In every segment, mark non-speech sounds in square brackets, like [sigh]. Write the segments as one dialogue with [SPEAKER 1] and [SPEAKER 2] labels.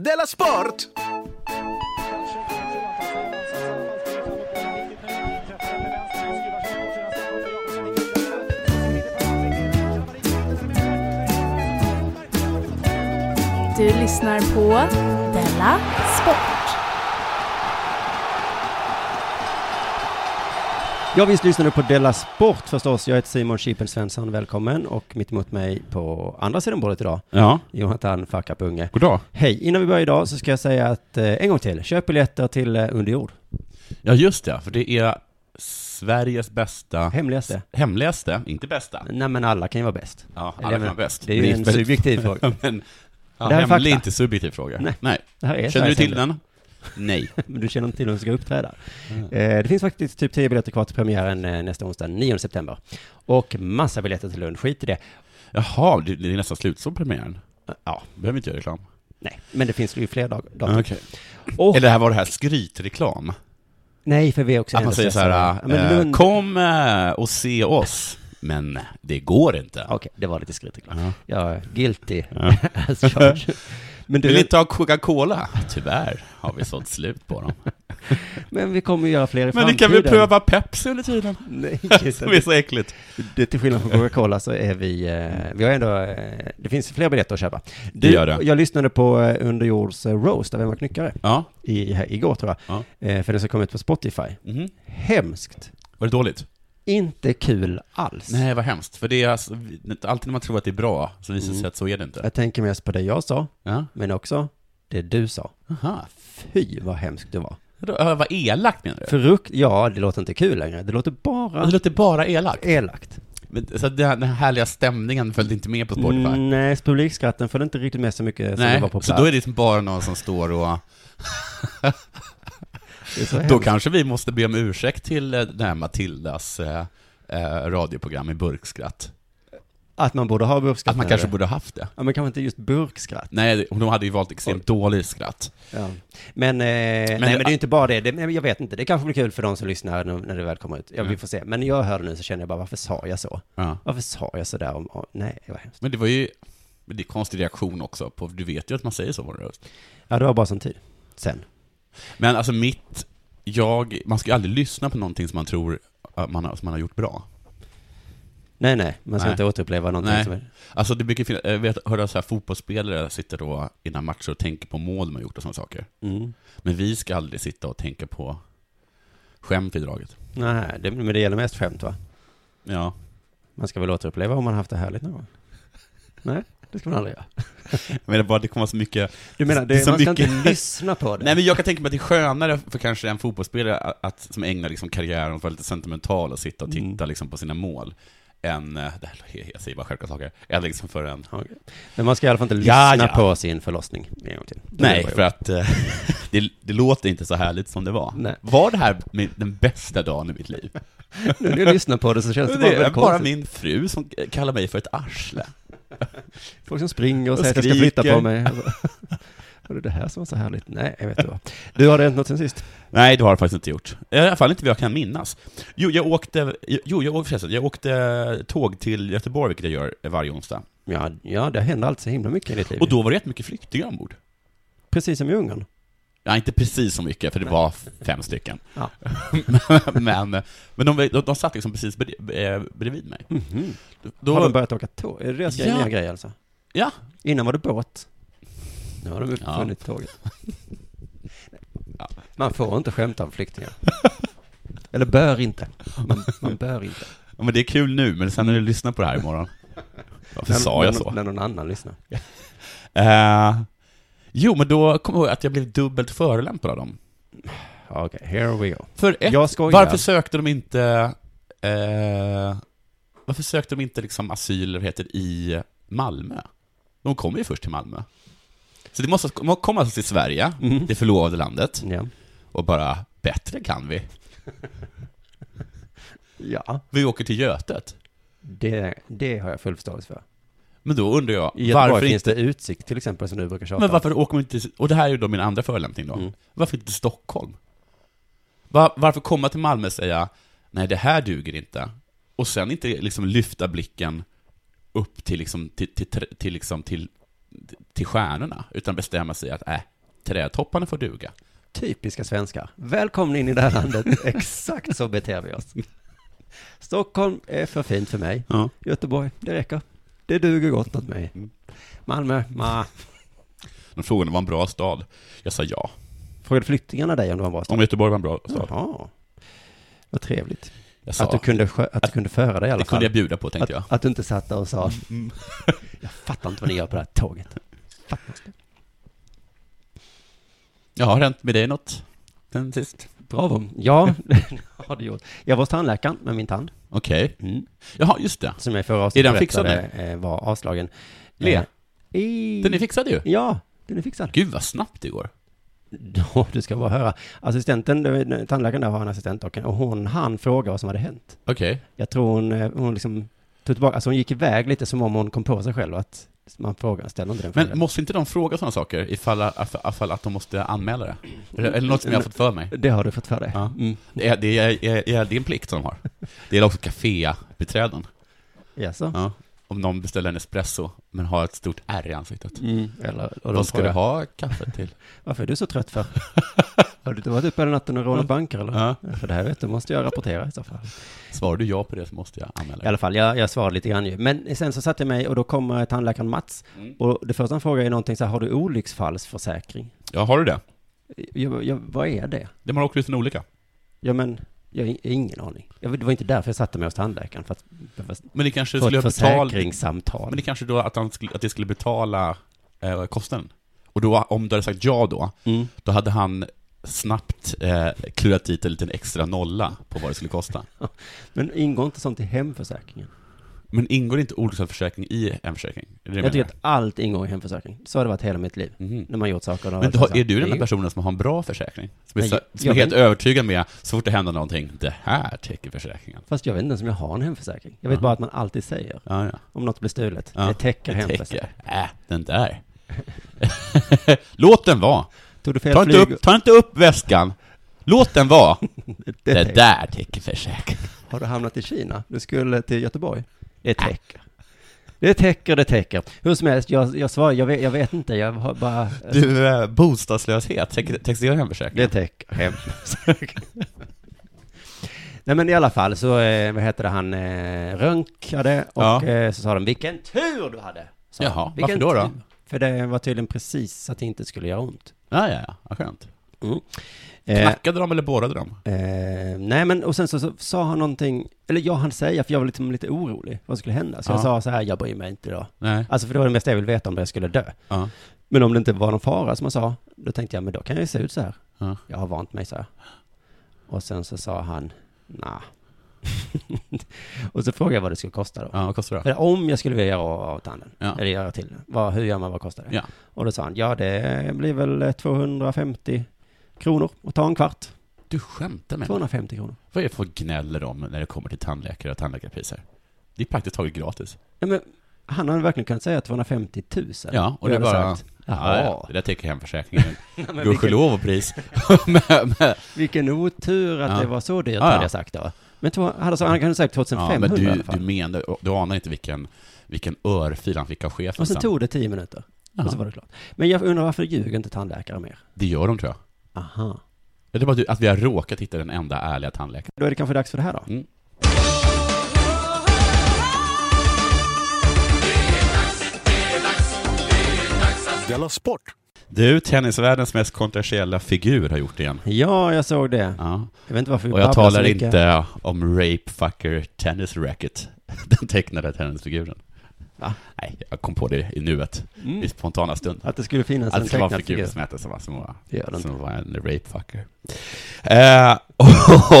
[SPEAKER 1] Della Sport!
[SPEAKER 2] Du lyssnar på Della Sport.
[SPEAKER 3] Ja, visst lyssnar du på Della Sport förstås. Jag heter Simon Chippen Svensson, välkommen. Och mitt emot mig på andra sidan bordet idag,
[SPEAKER 4] Ja,
[SPEAKER 3] Jonathan Fuckup Unge.
[SPEAKER 4] goddag.
[SPEAKER 3] Hej, innan vi börjar idag så ska jag säga att, eh, en gång till, köp biljetter till eh, Underjord.
[SPEAKER 4] Ja, just det, för det är Sveriges bästa...
[SPEAKER 3] Hemligaste.
[SPEAKER 4] Hemligaste, inte bästa.
[SPEAKER 3] Nej men alla kan ju vara bäst.
[SPEAKER 4] Ja, alla
[SPEAKER 3] Eller,
[SPEAKER 4] kan
[SPEAKER 3] men,
[SPEAKER 4] vara bäst.
[SPEAKER 3] Det är ju en
[SPEAKER 4] [laughs]
[SPEAKER 3] subjektiv fråga.
[SPEAKER 4] Men, ja,
[SPEAKER 3] Det här är
[SPEAKER 4] hemlig är
[SPEAKER 3] fakta.
[SPEAKER 4] inte subjektiv fråga.
[SPEAKER 3] Nej.
[SPEAKER 4] Nej.
[SPEAKER 3] Det här är
[SPEAKER 4] Känner du
[SPEAKER 3] Sveriges
[SPEAKER 4] till den? Mm. Nej.
[SPEAKER 3] Men du känner inte till hur du ska uppträda. Eh, det finns faktiskt typ 10 biljetter kvar till premiären eh, nästa onsdag, 9 september. Och massa biljetter till Lund, skit i det.
[SPEAKER 4] Jaha, det det är nästan slutsåld premiären.
[SPEAKER 3] Ja,
[SPEAKER 4] Behöver inte göra reklam.
[SPEAKER 3] nej, men det finns ju fler dag- datum.
[SPEAKER 4] Okej.
[SPEAKER 3] Och,
[SPEAKER 4] Eller det här var det här skrytreklam.
[SPEAKER 3] nej, för vi är också
[SPEAKER 4] Att man säger så här,
[SPEAKER 3] Ja, men
[SPEAKER 4] eh,
[SPEAKER 3] Lund...
[SPEAKER 4] kom eh, och se oss. Men det går inte.
[SPEAKER 3] Okej, det var lite skrytigt.
[SPEAKER 4] Ja.
[SPEAKER 3] Jag är guilty [laughs] as charged. Men,
[SPEAKER 4] Vill
[SPEAKER 3] du,
[SPEAKER 4] inte ha Coca-Cola? Tyvärr har vi sålt slut på dem.
[SPEAKER 3] men vi kommer ju göra fler i
[SPEAKER 4] Men ni
[SPEAKER 3] framtiden.
[SPEAKER 4] kan väl pröva Pepsi under tiden?
[SPEAKER 3] Nej,
[SPEAKER 4] [laughs] Som är så äckligt.
[SPEAKER 3] Det, till skillnad från Coca-Cola så är vi, eh, vi har ändå, eh, det finns fler biljetter att köpa. Du,
[SPEAKER 4] Det gör det.
[SPEAKER 3] Jag lyssnade på eh, Underjords eh, roast av Emma Knyckare
[SPEAKER 4] Ja.
[SPEAKER 3] i, här, igår tror jag, eh, för den som kom ut på Spotify.
[SPEAKER 4] Mhm.
[SPEAKER 3] Hemskt.
[SPEAKER 4] Var det dåligt?
[SPEAKER 3] Inte kul alls.
[SPEAKER 4] Nej, vad hemskt. För det är alltså, alltid när man tror att det är bra, så visar det sig att så är det inte.
[SPEAKER 3] Jag tänker mest på det jag sa,
[SPEAKER 4] Ja.
[SPEAKER 3] men också det du sa.
[SPEAKER 4] Aha.
[SPEAKER 3] Fy vad hemskt du var.
[SPEAKER 4] Vadå, ö, Vad elakt menar du?
[SPEAKER 3] Frukt, ja det låter inte kul längre, det låter bara
[SPEAKER 4] Det låter bara elakt.
[SPEAKER 3] elakt.
[SPEAKER 4] Men, så att den här, den här härliga stämningen följde inte med på Spotify?
[SPEAKER 3] Mm, nej, publikskratten följde inte riktigt med så mycket som det
[SPEAKER 4] Nej,
[SPEAKER 3] var på plats.
[SPEAKER 4] så då är det liksom bara någon som står och...
[SPEAKER 3] Det är så
[SPEAKER 4] Då
[SPEAKER 3] hemskt.
[SPEAKER 4] kanske vi måste be om ursäkt till eh, den här Matildas eh, eh, radioprogram i burkskratt.
[SPEAKER 3] Att man borde ha burkskratt.
[SPEAKER 4] Att man
[SPEAKER 3] menar
[SPEAKER 4] kanske
[SPEAKER 3] du?
[SPEAKER 4] borde haft det.
[SPEAKER 3] Ja, men kanske inte just burkskratt.
[SPEAKER 4] Nej, de hade ju valt extremt dåligt skratt.
[SPEAKER 3] Ja. Men, eh, nej, men det är ju inte bara det. det men jag vet inte, det kanske blir kul för de som lyssnar när, när det väl kommer ut. Ja,
[SPEAKER 4] Mm.
[SPEAKER 3] vi får se. Men när jag hör det nu så känner jag bara, varför sa jag så?
[SPEAKER 4] Ja.
[SPEAKER 3] Varför sa jag så där om, om nej, vad hemskt.
[SPEAKER 4] Men det var ju... Men det är konstig reaktion också, på, du vet ju att man säger så på en röst.
[SPEAKER 3] Ja, det var bara sån tid. Sen.
[SPEAKER 4] Men alltså mitt, jag, man ska ju aldrig lyssna på någonting som man tror att man har, som man har gjort bra.
[SPEAKER 3] Nej, nej, man ska
[SPEAKER 4] Nej.
[SPEAKER 3] inte återuppleva någonting
[SPEAKER 4] Nej.
[SPEAKER 3] som är...
[SPEAKER 4] Alltså det brukar finnas, jag vet, hör så här fotbollsspelare sitter då innan matcher och tänker på mål de har gjort och sådana saker.
[SPEAKER 3] Mm.
[SPEAKER 4] Men vi ska aldrig sitta och tänka på skämt i draget.
[SPEAKER 3] Nej, det, men det gäller mest skämt va?
[SPEAKER 4] Ja.
[SPEAKER 3] Man ska väl återuppleva om man haft det härligt någon gång? Nej, det ska man aldrig göra.
[SPEAKER 4] Jag menar bara, det kommer vara så mycket...
[SPEAKER 3] Du menar,
[SPEAKER 4] Det är
[SPEAKER 3] det,
[SPEAKER 4] så
[SPEAKER 3] man ska
[SPEAKER 4] mycket-
[SPEAKER 3] inte lyssna på det?
[SPEAKER 4] [laughs] Nej men jag kan tänka mig att det är skönare för kanske en fotbollsspelare att, att, som ägnar liksom karriären åt att vara lite sentimental och sitta och titta liksom på sina mål, än, eh, det här, jag säger bara självklara saker, än liksom för en
[SPEAKER 3] Okej. Men man ska i alla fall inte
[SPEAKER 4] Ja,
[SPEAKER 3] lyssna
[SPEAKER 4] ja.
[SPEAKER 3] på sin förlossning. En gång till. Det
[SPEAKER 4] Nej,
[SPEAKER 3] var ju-
[SPEAKER 4] för att eh, [laughs] det, det låter inte så härligt som det var.
[SPEAKER 3] Nej.
[SPEAKER 4] Var det här min, den bästa dagen i mitt [laughs] liv?
[SPEAKER 3] Nu när jag lyssnar på [laughs] det så
[SPEAKER 4] [laughs]
[SPEAKER 3] känns det,
[SPEAKER 4] Det
[SPEAKER 3] bara
[SPEAKER 4] är
[SPEAKER 3] väldigt
[SPEAKER 4] Alltså, bara
[SPEAKER 3] konstigt.
[SPEAKER 4] min fru som kallar mig för ett arsle.
[SPEAKER 3] Folk som springer och
[SPEAKER 4] Och
[SPEAKER 3] säger att jag ska flytta
[SPEAKER 4] skriker.
[SPEAKER 3] på mig. [laughs] Var det det här som var så härligt? Nej, jag vet inte vad. Du, har det hänt något sen sist?
[SPEAKER 4] Nej, det har jag faktiskt inte gjort. I alla fall inte vad jag kan minnas. Jo, jag åkte, jo, jag, åkte- förresten, jag åkte tåg till Göteborg, vilket jag gör varje onsdag.
[SPEAKER 3] Ja, ja det händer alltid så himla mycket i ditt liv.
[SPEAKER 4] Och då var det jättemycket flyktingar ombord.
[SPEAKER 3] Precis som i Ungern.
[SPEAKER 4] Ja, inte precis så mycket, för det var fem stycken.
[SPEAKER 3] Ja.
[SPEAKER 4] [laughs] men men de, de, de satt liksom precis bred- eh, bredvid mig.
[SPEAKER 3] Mhm.
[SPEAKER 4] Då,
[SPEAKER 3] Har de börjat åka tåg? Är det deras
[SPEAKER 4] Ja.
[SPEAKER 3] nya grej alltså?
[SPEAKER 4] ja,
[SPEAKER 3] Innan var det båt. Nu har de uppfunnit
[SPEAKER 4] [laughs]
[SPEAKER 3] tåget. Man får inte skämta om
[SPEAKER 4] [laughs]
[SPEAKER 3] flyktingar. Eller bör inte. Man, man bör
[SPEAKER 4] [laughs]
[SPEAKER 3] inte.
[SPEAKER 4] Ja, men det är kul nu, men sen när
[SPEAKER 3] Mm.
[SPEAKER 4] du lyssnar på det här
[SPEAKER 3] [laughs]
[SPEAKER 4] imorgon. Varför
[SPEAKER 3] När-
[SPEAKER 4] sa jag
[SPEAKER 3] när,
[SPEAKER 4] så?
[SPEAKER 3] När någon annan lyssnar.
[SPEAKER 4] Eh, jo, men då kom jag ihåg att jag blev dubbelt förolämpad av dem.
[SPEAKER 3] Ja, Okej, here we go.
[SPEAKER 4] För ett,
[SPEAKER 3] Jag skojar.
[SPEAKER 4] varför sökte de inte... eh, varför sökte de inte liksom asyl, eller vad heter det, i Malmö? De kom ju först till Malmö. Så det måste, de kom alltså till Sverige, det förlovade landet,
[SPEAKER 3] Mm. Ja.
[SPEAKER 4] och bara bättre kan vi.
[SPEAKER 3] ja,
[SPEAKER 4] Vi åker till Götet.
[SPEAKER 3] det, det har jag full förståelse för.
[SPEAKER 4] Men då undrar jag,
[SPEAKER 3] I Göteborg
[SPEAKER 4] varför
[SPEAKER 3] varför finns
[SPEAKER 4] inte...
[SPEAKER 3] det utsikt till exempel som du brukar tjata
[SPEAKER 4] Men
[SPEAKER 3] om.
[SPEAKER 4] varför åker man inte till, och det här är ju då min andra förolämpning då.
[SPEAKER 3] Mm.
[SPEAKER 4] Varför inte till Stockholm? Va- varför komma till Malmö och säga, nej det här duger inte, och sen inte liksom lyfta blicken upp till liksom, till, till, till, till, liksom, till till stjärnorna, utan bestämma sig att äh, trädtopparna får duga.
[SPEAKER 3] Typiska svenskar. Välkomna in i det här landet.
[SPEAKER 4] [laughs]
[SPEAKER 3] Exakt så beter vi oss. Stockholm är för fint för mig.
[SPEAKER 4] Ja.
[SPEAKER 3] Göteborg, det räcker. Det duger gott åt mig.
[SPEAKER 4] Mm.
[SPEAKER 3] Malmö, ma.
[SPEAKER 4] De frågade om det var en bra stad. Jag sa ja.
[SPEAKER 3] Frågade flyktingarna dig om det var en bra stad?
[SPEAKER 4] Om Göteborg var en bra stad.
[SPEAKER 3] Jaha. Vad trevligt.
[SPEAKER 4] Jag sa,
[SPEAKER 3] Att du kunde, skö- att du kunde föra dig i alla
[SPEAKER 4] det
[SPEAKER 3] fall.
[SPEAKER 4] kunde jag bjuda på, tänkte jag. Mm,
[SPEAKER 3] Att, att du inte satt där och sa, [laughs] jag fattar inte vad ni gör på det här tåget. Fattar inte.
[SPEAKER 4] Ja, har det hänt med dig något sen sist?
[SPEAKER 3] Bravo. Ja,
[SPEAKER 4] [laughs]
[SPEAKER 3] [laughs] det har det gjort. Jag var hos tandläkaren med min tand,
[SPEAKER 4] Okej.
[SPEAKER 3] mm.
[SPEAKER 4] Jaha, just det.
[SPEAKER 3] som jag i förra avsnittet
[SPEAKER 4] Är den fixad
[SPEAKER 3] berättade, eh, var avslagen.
[SPEAKER 4] Le.
[SPEAKER 3] Eh, I...
[SPEAKER 4] Den är fixad ju.
[SPEAKER 3] Ja, den är fixad.
[SPEAKER 4] Gud vad snabbt det går.
[SPEAKER 3] Ja, [laughs] du ska bara höra. Assistenten, det- tandläkaren där har en assistent och, och hon hann fråga vad som hade hänt.
[SPEAKER 4] Okej.
[SPEAKER 3] Jag tror hon, eh, hon liksom tog tillbaka, alltså hon gick iväg lite som om hon kom på sig själv att man frågar, ställer inte den frågan.
[SPEAKER 4] Men måste inte de fråga sådana saker ifall, alltså, ifall att de måste anmäla det? Eller, eller något som jag har fått för mig.
[SPEAKER 3] Det har du fått för dig.
[SPEAKER 4] Ja.
[SPEAKER 3] Mm.
[SPEAKER 4] Det är, det, är, det är en plikt som de har. Det är också kafébiträden.
[SPEAKER 3] Jaså?
[SPEAKER 4] Ja. Om någon beställer en espresso, men har ett stort ärr i ansiktet.
[SPEAKER 3] Mm. Eller, och de
[SPEAKER 4] Vad ska du
[SPEAKER 3] frågar,
[SPEAKER 4] ha kaffe till?
[SPEAKER 3] Varför är du så trött
[SPEAKER 4] [laughs]
[SPEAKER 3] för? har du inte varit uppe hela natten och rånat banker eller?
[SPEAKER 4] Ja.
[SPEAKER 3] För det här vet du, måste jag rapportera i så fall.
[SPEAKER 4] Svarar du ja på det så måste jag anmäla
[SPEAKER 3] I
[SPEAKER 4] det.
[SPEAKER 3] alla fall, jag, jag svarade lite grann ju. Men sen så satte jag mig och då kommer tandläkaren Mats.
[SPEAKER 4] Mm.
[SPEAKER 3] Och det första han frågar är någonting så här, har du olycksfallsförsäkring?
[SPEAKER 4] Ja, har du det?
[SPEAKER 3] Jag, jag, vad är det?
[SPEAKER 4] Det man åker ut en olycka.
[SPEAKER 3] Ja men, jag har in- ingen aning. Jag, det var inte därför jag satte mig hos tandläkaren, för att behöva
[SPEAKER 4] Men det kanske
[SPEAKER 3] få
[SPEAKER 4] skulle
[SPEAKER 3] ett
[SPEAKER 4] betala...
[SPEAKER 3] försäkringssamtal.
[SPEAKER 4] Men det kanske då att, han skulle, att det skulle betala eh, kostnaden. Och då, om du hade sagt ja då,
[SPEAKER 3] Mm.
[SPEAKER 4] då hade han snabbt eh, klurat dit en liten extra nolla på vad det skulle kosta.
[SPEAKER 3] Men ingår inte sånt i hemförsäkringen?
[SPEAKER 4] Men ingår inte olycksfallsförsäkring i en försäkring? Är det det
[SPEAKER 3] Jag
[SPEAKER 4] du
[SPEAKER 3] tycker att allt ingår i hemförsäkring. Så har det varit hela mitt liv.
[SPEAKER 4] menar? Mhm.
[SPEAKER 3] När man gjort saker. och-
[SPEAKER 4] Men då, är du den
[SPEAKER 3] Nej.
[SPEAKER 4] där personen som har en bra försäkring? Som är,
[SPEAKER 3] Nej,
[SPEAKER 4] så,
[SPEAKER 3] jag-
[SPEAKER 4] som är
[SPEAKER 3] jag
[SPEAKER 4] helt
[SPEAKER 3] vet-
[SPEAKER 4] övertygad med, så fort det händer någonting, det här täcker försäkringen.
[SPEAKER 3] Fast jag vet inte ens om jag har en hemförsäkring. Jag vet
[SPEAKER 4] Ja.
[SPEAKER 3] bara att man alltid säger,
[SPEAKER 4] Ja, ja.
[SPEAKER 3] om något blir stulet,
[SPEAKER 4] Ja,
[SPEAKER 3] det täcker
[SPEAKER 4] Det
[SPEAKER 3] hemförsäkringen.
[SPEAKER 4] täcker. Äh, den där. [laughs] Låt den vara.
[SPEAKER 3] Tog du fel
[SPEAKER 4] Ta inte,
[SPEAKER 3] flyg?
[SPEAKER 4] upp, ta inte upp väskan. Låt den vara.
[SPEAKER 3] Det
[SPEAKER 4] Det
[SPEAKER 3] täcker.
[SPEAKER 4] där täcker försäkringen.
[SPEAKER 3] Har du hamnat i Kina? Du skulle till Göteborg? Det täcker. Det täcker, det täcker. Hur som helst, jag, jag svarar, jag vet, jag vet inte, jag har bara...
[SPEAKER 4] Du, eh, bostadslöshet, täcker täcker det hemförsäkringen?
[SPEAKER 3] Det täcker hem. Nej men i alla fall så, eh, vad heter det, han eh, röntgade och
[SPEAKER 4] Ja.
[SPEAKER 3] eh, så sa de vilken tur du hade! Sa de.
[SPEAKER 4] Jaha,
[SPEAKER 3] "Vilken
[SPEAKER 4] varför då då?"
[SPEAKER 3] tur." För det var tydligen precis att det inte skulle göra ont.
[SPEAKER 4] Ja, ja, ja, vad skönt.
[SPEAKER 3] Eh,
[SPEAKER 4] Knackade de eller borrade de?
[SPEAKER 3] eh, nej men och sen så, så sa han någonting, eller jag han säga för jag var liksom lite orolig vad skulle hända. Så jag
[SPEAKER 4] Ja.
[SPEAKER 3] sa så här, jag bryr mig inte då.
[SPEAKER 4] Nej.
[SPEAKER 3] Alltså för det var det mesta jag ville veta om jag skulle dö.
[SPEAKER 4] Ja.
[SPEAKER 3] Men om det inte var någon fara som han sa, då tänkte jag, men då kan jag ju se ut så här.
[SPEAKER 4] Ja.
[SPEAKER 3] Jag har vant mig så här. Och sen så sa han, nah. [laughs] och så frågade jag vad det skulle kosta då.
[SPEAKER 4] ja, vad kostar det?
[SPEAKER 3] För om jag skulle vilja göra av tanden,
[SPEAKER 4] Ja.
[SPEAKER 3] eller göra till den, vad, hur gör man, vad kostar det?
[SPEAKER 4] Ja.
[SPEAKER 3] Och då sa han, ja det blir väl 250 kronor och ta en kvart.
[SPEAKER 4] Du skämtar med mig.
[SPEAKER 3] 250 kronor.
[SPEAKER 4] Vad är det för gnäller om när det kommer till tandläkare och tandläkarpriser? Det är praktiskt taget gratis.
[SPEAKER 3] Ja, men han hade verkligen kunnat säga 250 000.
[SPEAKER 4] Ja, och
[SPEAKER 3] Jag
[SPEAKER 4] det är
[SPEAKER 3] hade
[SPEAKER 4] bara...
[SPEAKER 3] sagt,
[SPEAKER 4] Ja, ja,
[SPEAKER 3] "Jaha."
[SPEAKER 4] det där täcker [laughs] hemförsäkringen.
[SPEAKER 3] Men vilken,
[SPEAKER 4] Gudskelov och [laughs] pris. men, men,
[SPEAKER 3] vilken otur att
[SPEAKER 4] Ja.
[SPEAKER 3] det var så dyrt,
[SPEAKER 4] Ja, ja.
[SPEAKER 3] hade jag sagt då. Men två, han, sa, han kunde ha sagt 2500
[SPEAKER 4] ja, men
[SPEAKER 3] i
[SPEAKER 4] du,
[SPEAKER 3] alla fall.
[SPEAKER 4] du menar, du anar inte vilken, vilken örfil han fick av chefen
[SPEAKER 3] Och sen tog det tio minuter. Och så
[SPEAKER 4] ja,
[SPEAKER 3] var det klart. Men jag undrar varför ljuger inte tandläkare mer?
[SPEAKER 4] Det gör de tror jag.
[SPEAKER 3] Aha.
[SPEAKER 4] Jag tror bara att du- att vi har råkat hitta den enda ärliga tandläkaren.
[SPEAKER 3] Då är det kanske dags för det här då.
[SPEAKER 4] Mm.
[SPEAKER 1] Della Sport!
[SPEAKER 4] Du, tennisvärldens mest kontroversiella figur har gjort det igen.
[SPEAKER 3] Ja, jag såg det.
[SPEAKER 4] Ja.
[SPEAKER 3] Jag vet inte varför vi
[SPEAKER 4] Och jag
[SPEAKER 3] babblar så
[SPEAKER 4] talar
[SPEAKER 3] mycket.
[SPEAKER 4] inte om Rape Fucker Tennis Racket, [laughs] den tecknade tennisfiguren.
[SPEAKER 3] Va?
[SPEAKER 4] Nej, jag kom på det i nuet, i
[SPEAKER 3] Mm.
[SPEAKER 4] spontana stund.
[SPEAKER 3] Att det skulle finnas
[SPEAKER 4] Att
[SPEAKER 3] en
[SPEAKER 4] det ska vara
[SPEAKER 3] tecknad
[SPEAKER 4] figurer
[SPEAKER 3] figur.
[SPEAKER 4] som hette som var, som var,
[SPEAKER 3] Det gör det inte.
[SPEAKER 4] som var en Rape Fucker. Eh,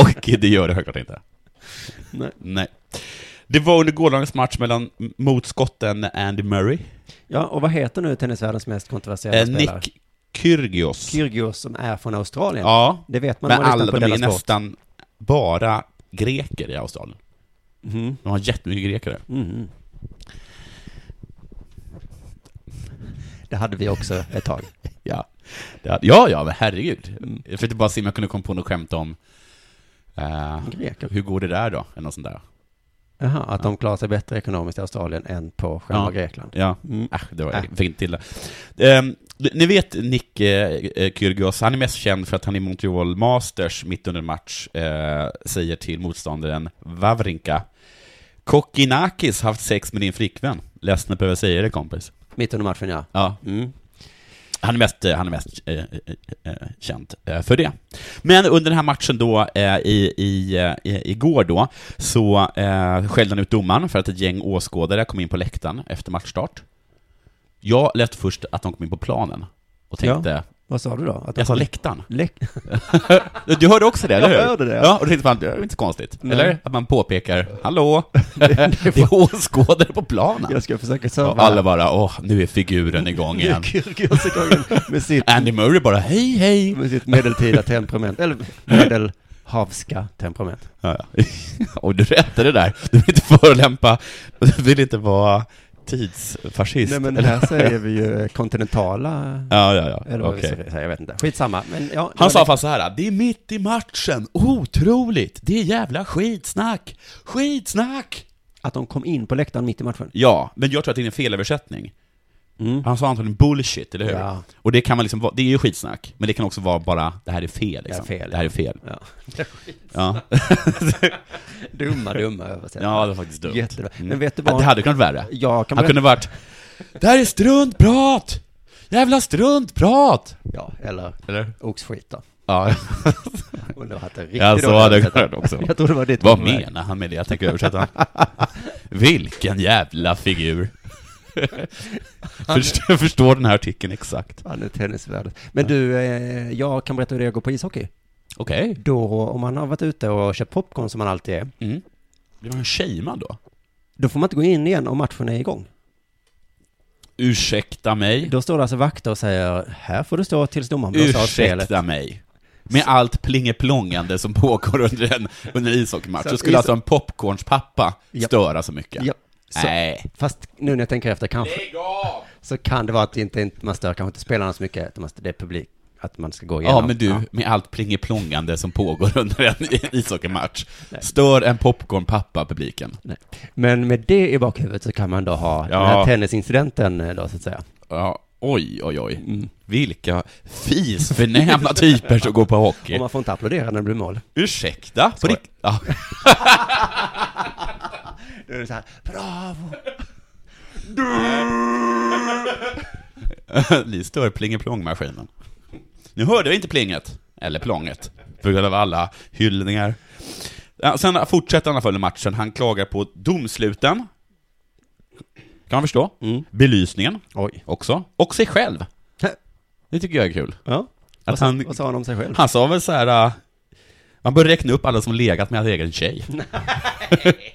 [SPEAKER 4] [laughs] och det gör det självklart inte.
[SPEAKER 3] Nej.
[SPEAKER 4] Nej. Det var under gårdagens match mellan mot skotten Andy Murray,
[SPEAKER 3] Ja, och vad heter nu tennisvärldens mest kontroversiella
[SPEAKER 4] eh,
[SPEAKER 3] spelare?
[SPEAKER 4] Nick Kyrgios.
[SPEAKER 3] Kyrgios som är från Australien.
[SPEAKER 4] Ja,
[SPEAKER 3] Det vet man
[SPEAKER 4] men
[SPEAKER 3] om man
[SPEAKER 4] alla,
[SPEAKER 3] lyssnar på
[SPEAKER 4] de är
[SPEAKER 3] Della Sport.
[SPEAKER 4] nästan bara greker i Australien.
[SPEAKER 3] Mhm.
[SPEAKER 4] De har jättemycket greker där.
[SPEAKER 3] Mhm. Det hade vi också ett tag.
[SPEAKER 4] Ja, det hade, ja, ja, men herregud.
[SPEAKER 3] Mm.
[SPEAKER 4] Jag försökte bara se om jag kunde komma på något skämt om eh,
[SPEAKER 3] Greker.
[SPEAKER 4] hur går det där då, eller något sånt där.
[SPEAKER 3] Jaha, att de klarar sig bättre ekonomiskt i Australien än på själva
[SPEAKER 4] Ja.
[SPEAKER 3] Grekland.
[SPEAKER 4] Ja,
[SPEAKER 3] Mm.
[SPEAKER 4] Äsch, det var
[SPEAKER 3] Äh.
[SPEAKER 4] jag fick inte till det. Ehm, ni vet Nick eh, eh, Kyrgios, han är mest känd för att han i Montreal Masters mitt under en match eh, säger till motståndaren Wawrinka Kokkinakis haft sex med din flickvän. Ledsen att behöva säga det kompis.
[SPEAKER 3] Mitt under matchen, ja.
[SPEAKER 4] Ja,
[SPEAKER 3] Mm.
[SPEAKER 4] han är mest, eh, han är mest eh, eh, eh, känd eh, för det. Men under den här matchen då, eh, i, i, eh, i- igår då, så eh, skällde han ut domaren för att ett gäng åskådare kom in på läktaren efter matchstart. Jag lät först att de kom in på planen och tänkte,
[SPEAKER 3] Vad sa du då? Att de
[SPEAKER 4] jag sa
[SPEAKER 3] kom-
[SPEAKER 4] läktaren.
[SPEAKER 3] Läck...
[SPEAKER 4] Du hörde också det, eller hur?
[SPEAKER 3] Jag hörde det.
[SPEAKER 4] Ja, och då tänkte man, det är inte så konstigt.
[SPEAKER 3] Nej.
[SPEAKER 4] Eller? Att man påpekar, hallå, det är [laughs] åskådare på planen.
[SPEAKER 3] Jag ska försöka
[SPEAKER 4] Och
[SPEAKER 3] serva.
[SPEAKER 4] alla bara, åh, nu är figuren igång igen.
[SPEAKER 3] Kyrgios igång med sitt,
[SPEAKER 4] Andy Murray bara, hej, hej.
[SPEAKER 3] med sitt medeltida temperament, eller medelhavska temperament.
[SPEAKER 4] Ja, ja. [laughs] Och du rättade det där. Du vill inte förolämpa, du vill inte vara tidsfascist.
[SPEAKER 3] Nej men
[SPEAKER 4] eller?
[SPEAKER 3] här [laughs] säger vi ju eh, kontinentala,
[SPEAKER 4] Ja, ja, ja.
[SPEAKER 3] eller vad
[SPEAKER 4] Okej.
[SPEAKER 3] vi säger, jag vet inte. Skitsamma. Men ja,
[SPEAKER 4] Han sa fast så här, det är mitt i matchen, otroligt, det är jävla skitsnack, skitsnack!
[SPEAKER 3] att de kom in på läktaren mitt i matchen.
[SPEAKER 4] Ja, men jag tror att det är en felöversättning.
[SPEAKER 3] Mm.
[SPEAKER 4] Han sa antagligen bullshit, eller hur?
[SPEAKER 3] Ja.
[SPEAKER 4] Och det kan man liksom, vara- det är ju skitsnack, men det kan också vara bara, det här är fel, liksom.
[SPEAKER 3] Det är fel.
[SPEAKER 4] Det här är fel.
[SPEAKER 3] Ja.
[SPEAKER 4] Ja, [laughs]
[SPEAKER 3] Dumma, dumma översättningar.
[SPEAKER 4] ja det var faktiskt dumt.
[SPEAKER 3] Jättebra.
[SPEAKER 4] Mm.
[SPEAKER 3] Men vet du
[SPEAKER 4] Ja,
[SPEAKER 3] vad?
[SPEAKER 4] Det hade kunnat vara värre.
[SPEAKER 3] Jag kan
[SPEAKER 4] Han kunde varit Det här är struntprat! Jävla struntprat!
[SPEAKER 3] Ja, eller
[SPEAKER 4] Eller?
[SPEAKER 3] oxskit då.
[SPEAKER 4] Ja,
[SPEAKER 3] Undrar att det är riktigt
[SPEAKER 4] ja så
[SPEAKER 3] dålig
[SPEAKER 4] hade jag
[SPEAKER 3] översättning.
[SPEAKER 4] kunnat också.
[SPEAKER 3] Jag tror det var ditt
[SPEAKER 4] Vad
[SPEAKER 3] problem.
[SPEAKER 4] menar han med det? Jag
[SPEAKER 3] [laughs]
[SPEAKER 4] tänker översätta. Vilken jävla figur. Förstår, jag förstår den här artikeln exakt.
[SPEAKER 3] Han är tennisvärdet. Men du, eh, jag kan berätta hur det går på ishockey.
[SPEAKER 4] Okej.
[SPEAKER 3] Då, om man har varit ute och köpt popcorn som man alltid är,
[SPEAKER 4] Mm. Blir man shamead då?
[SPEAKER 3] då får man inte gå in igen om matchen är igång.
[SPEAKER 4] Ursäkta mig.
[SPEAKER 3] Då står det alltså vakter och säger, här får du stå tills domaren blåser av spelet.
[SPEAKER 4] Ursäkta mig. Med allt plingeplongande som pågår under en, under en ishockeymatch,
[SPEAKER 3] Så
[SPEAKER 4] så
[SPEAKER 3] att
[SPEAKER 4] skulle
[SPEAKER 3] is-
[SPEAKER 4] alltså en popcornspappa
[SPEAKER 3] Japp.
[SPEAKER 4] störa så mycket?
[SPEAKER 3] Ja, så,
[SPEAKER 4] Nej.
[SPEAKER 3] fast nu när jag tänker efter kanske, så kan det vara att det inte, inte, man stör kanske inte spelarna så mycket, att man- det är publik, att man ska gå igenom.
[SPEAKER 4] Ja, men du, med allt plingeplongande som pågår [laughs] under en ishockeymatch, stör en popcornpappa publiken?
[SPEAKER 3] Nej. Men med det i bakhuvudet så kan man då ha
[SPEAKER 4] Ja.
[SPEAKER 3] den här tennisincidenten eh, då så att säga.
[SPEAKER 4] Ja, oj, oj, oj. Vilka fisförnäma typer som går på hockey.
[SPEAKER 3] Och man får inte applådera när det blir
[SPEAKER 4] [laughs]
[SPEAKER 3] mål.
[SPEAKER 4] Ursäkta? På
[SPEAKER 3] Sorry.
[SPEAKER 4] rikt- ja.
[SPEAKER 3] [laughs] Då är det så här, bravo!
[SPEAKER 4] Ni stör plingeplongmaskinen. Nu hörde vi inte plinget, eller plånget, på grund av alla hyllningar. Ja, sen fortsätter han följa matchen, han klagar på domsluten. Kan man förstå.
[SPEAKER 3] Mm.
[SPEAKER 4] Belysningen
[SPEAKER 3] Oj.
[SPEAKER 4] också, och sig själv.
[SPEAKER 3] Hä?
[SPEAKER 4] Det tycker jag är kul.
[SPEAKER 3] Ja,
[SPEAKER 4] Att han,
[SPEAKER 3] vad sa han om sig själv?
[SPEAKER 4] han sa väl så här. äh, Man bör räkna upp alla som legat med hans
[SPEAKER 3] [laughs]
[SPEAKER 4] egen tjej.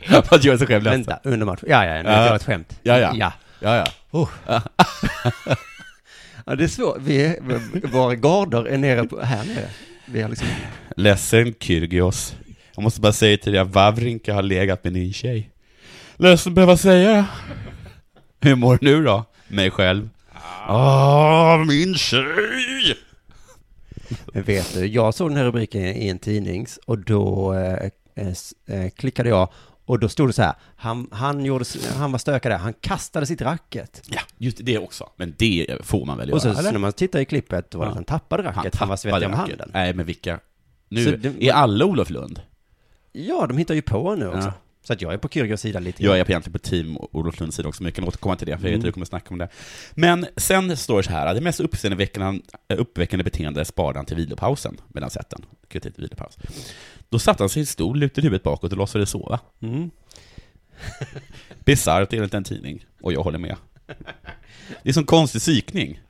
[SPEAKER 4] För att göra sig själv ledsen.
[SPEAKER 3] Vänta, under matchen. Ja, ja, ja, nu
[SPEAKER 4] Ja.
[SPEAKER 3] det var ett skämt.
[SPEAKER 4] Ja, ja.
[SPEAKER 3] ja.
[SPEAKER 4] Ja, ja.
[SPEAKER 3] Ja, det är svårt. Vi är, v- våra garder är nere på, här nere. Vi har liksom,
[SPEAKER 4] Ledsen Kyrgios. Jag måste bara säga till dig att Wawrinka har legat med din tjej. Ledsen att behöva säga det. Hur mår du nu då? Mig själv. Ah, min tjej!
[SPEAKER 3] Men vet du, jag såg den här rubriken i en tidnings och då eh, eh, s- eh, klickade jag och då stod det så här, han, han, gjorde, s- han var stökad där, han kastade sitt racket.
[SPEAKER 4] Ja, just det också. Men det får man väl göra?
[SPEAKER 3] och så,
[SPEAKER 4] eller?
[SPEAKER 3] så när man tittar i klippet då var det
[SPEAKER 4] Ja.
[SPEAKER 3] att han tappade racket, han, var
[SPEAKER 4] tappade
[SPEAKER 3] svettig om
[SPEAKER 4] racket.
[SPEAKER 3] handen.
[SPEAKER 4] Nej, men vilka?
[SPEAKER 3] Så
[SPEAKER 4] Nu,
[SPEAKER 3] det-
[SPEAKER 4] är alla Olof Lund?
[SPEAKER 3] Ja, de hittar ju på nu också.
[SPEAKER 4] Ja.
[SPEAKER 3] Så att jag är på Kyrgios sida lite
[SPEAKER 4] Jag
[SPEAKER 3] grann.
[SPEAKER 4] är egentligen på team Olof Lunds sida också, men jag kan återkomma till det, för jag vet att du kommer snacka om det. Men sen står det så här, det mest uppseendeväckande, uppväckande beteende sparade han till vilopausen, medan sätten. Kritik till vilopaus. Då satte han sig i en stol, lutade huvudet bakåt och låtsades sova.
[SPEAKER 3] Mm.
[SPEAKER 4] [laughs] Bisarrt enligt en tidning, och jag håller med. Det är som konstig psykning.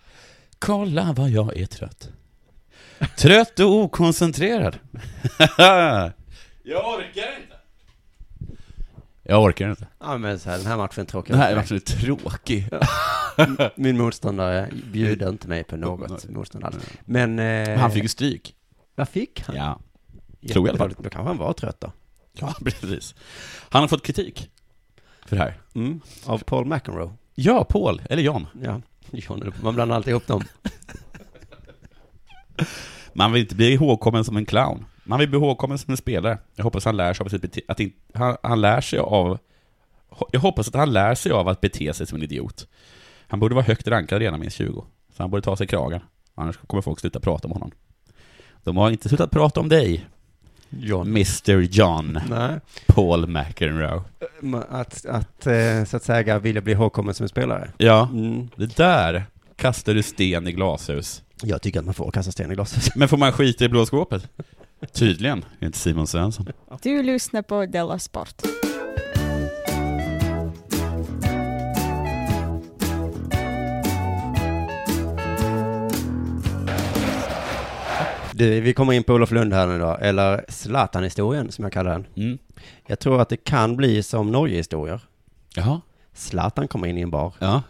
[SPEAKER 4] Kolla vad jag är trött. Trött och okoncentrerad. [laughs] jag orkar inte. Jag orkar inte.
[SPEAKER 3] Ja, men så här, den här matchen är tråkig.
[SPEAKER 4] Den här är absolut tråkig.
[SPEAKER 3] Min motståndare bjuder inte mig på något motstånd alls. Men... Eh,
[SPEAKER 4] Men han fick ju stryk.
[SPEAKER 3] Vad fick han?
[SPEAKER 4] Ja. tror jag i alla fall.
[SPEAKER 3] Jättedåligt. Då kanske han var trött då.
[SPEAKER 4] ja, [laughs] precis. Han har fått kritik för det här.
[SPEAKER 3] Mm. Av Paul McEnroe.
[SPEAKER 4] Ja, Paul, eller John.
[SPEAKER 3] Ja. John, man blandar alltid ihop dem.
[SPEAKER 4] Man vill inte bli ihågkommen som en clown. Man vill bli ihågkommen som en spelare. Jag hoppas han lär sig av sitt bete- att in- han, han lär sig av... ho- Jag hoppas att han lär sig av att bete sig som en idiot. Han borde vara högt rankad redan minst 20. Så han borde ta sig kragen. Annars kommer folk sluta prata om honom. De har inte slutat prata om dig,
[SPEAKER 3] John.
[SPEAKER 4] Mr John
[SPEAKER 3] Nej.
[SPEAKER 4] Paul McEnroe.
[SPEAKER 3] Men Att, att eh, så att säga vilja bli ihågkommen som en spelare.
[SPEAKER 4] Ja,
[SPEAKER 3] Mm.
[SPEAKER 4] det där kastar du sten i glashus.
[SPEAKER 3] Jag tycker att man får kasta sten i glashus.
[SPEAKER 4] Men får man skita i blå skåpet? Tydligen, inte Simon Svensson.
[SPEAKER 5] Du lyssnar på Della Sport.
[SPEAKER 3] [laughs] Du, vi kommer in på Olof Lund här nu då, eller Zlatan-historien som jag kallar den.
[SPEAKER 4] Mm.
[SPEAKER 3] Jag tror att det kan bli som Norge-historier.
[SPEAKER 4] Jaha,
[SPEAKER 3] Zlatan kommer in i en bar.
[SPEAKER 4] ja.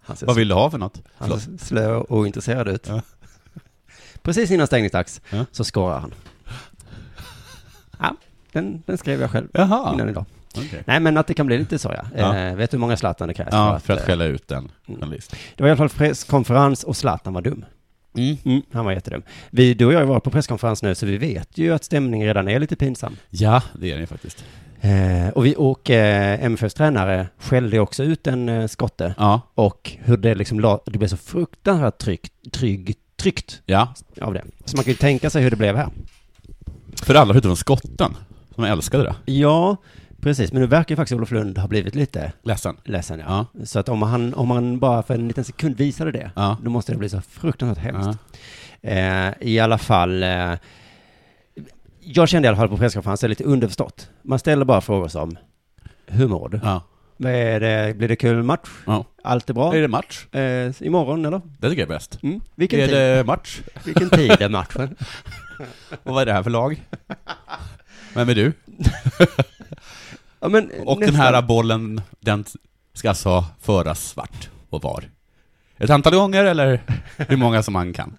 [SPEAKER 3] Han ser
[SPEAKER 4] Vad vill du ha för något?
[SPEAKER 3] Han ser slö och ointresserad ut.
[SPEAKER 4] Ja.
[SPEAKER 3] [laughs] Precis innan stängningsdags
[SPEAKER 4] Ja.
[SPEAKER 3] så scorar han. Ja, den, den skrev jag själv
[SPEAKER 4] Jaha.
[SPEAKER 3] innan idag.
[SPEAKER 4] Okej.
[SPEAKER 3] Nej, men att det kan bli lite så, ja.
[SPEAKER 4] Ja.
[SPEAKER 3] Eh, vet du hur många Zlatan det krävs?
[SPEAKER 4] Ja, för
[SPEAKER 3] eh,
[SPEAKER 4] att skälla ut en
[SPEAKER 3] Mm.
[SPEAKER 4] journalist.
[SPEAKER 3] det var i alla fall presskonferens och Zlatan var dum.
[SPEAKER 4] Mm.
[SPEAKER 3] Han var jättedum. Vi, du och jag har varit på presskonferens nu, så vi vet ju att stämningen redan är lite pinsam.
[SPEAKER 4] Ja, det är det ju faktiskt.
[SPEAKER 3] Eh, och vi, och eh, MFFs tränare skällde också ut en eh, skotte.
[SPEAKER 4] Ja,
[SPEAKER 3] Och hur det liksom la, det blev så fruktansvärt tryck, trygg, tryckt
[SPEAKER 4] ja.
[SPEAKER 3] av det. Så man kan ju tänka sig hur det blev här.
[SPEAKER 4] För alla utom skotten, som älskade det.
[SPEAKER 3] Ja, precis. Men nu verkar ju faktiskt Olof Lund ha blivit lite
[SPEAKER 4] Ledsen.
[SPEAKER 3] ledsen. Ja. Så att om han, om han bara för en liten sekund visade det,
[SPEAKER 4] Ja.
[SPEAKER 3] då måste det bli så fruktansvärt
[SPEAKER 4] Ja.
[SPEAKER 3] hemskt. Eh, I alla fall, eh, jag kände i alla fall på presskonferensen lite underförstått. Man ställer bara frågor som, hur mår du?
[SPEAKER 4] Ja.
[SPEAKER 3] Vad är det, blir det kul match?
[SPEAKER 4] ja.
[SPEAKER 3] Allt är bra?
[SPEAKER 4] Är det match?
[SPEAKER 3] Eh, imorgon eller?
[SPEAKER 4] Det tycker jag är bäst.
[SPEAKER 3] Mm. Vilken,
[SPEAKER 4] är
[SPEAKER 3] tid?
[SPEAKER 4] det match?
[SPEAKER 3] Vilken tid är
[SPEAKER 4] [laughs]
[SPEAKER 3] matchen?
[SPEAKER 4] Och vad är det här
[SPEAKER 3] [laughs]
[SPEAKER 4] för lag? Vem är du?
[SPEAKER 3] Ja, men,
[SPEAKER 4] Och den
[SPEAKER 3] nästan.
[SPEAKER 4] här bollen, den ska alltså föras svart och var. Ett antal gånger eller hur många som man kan.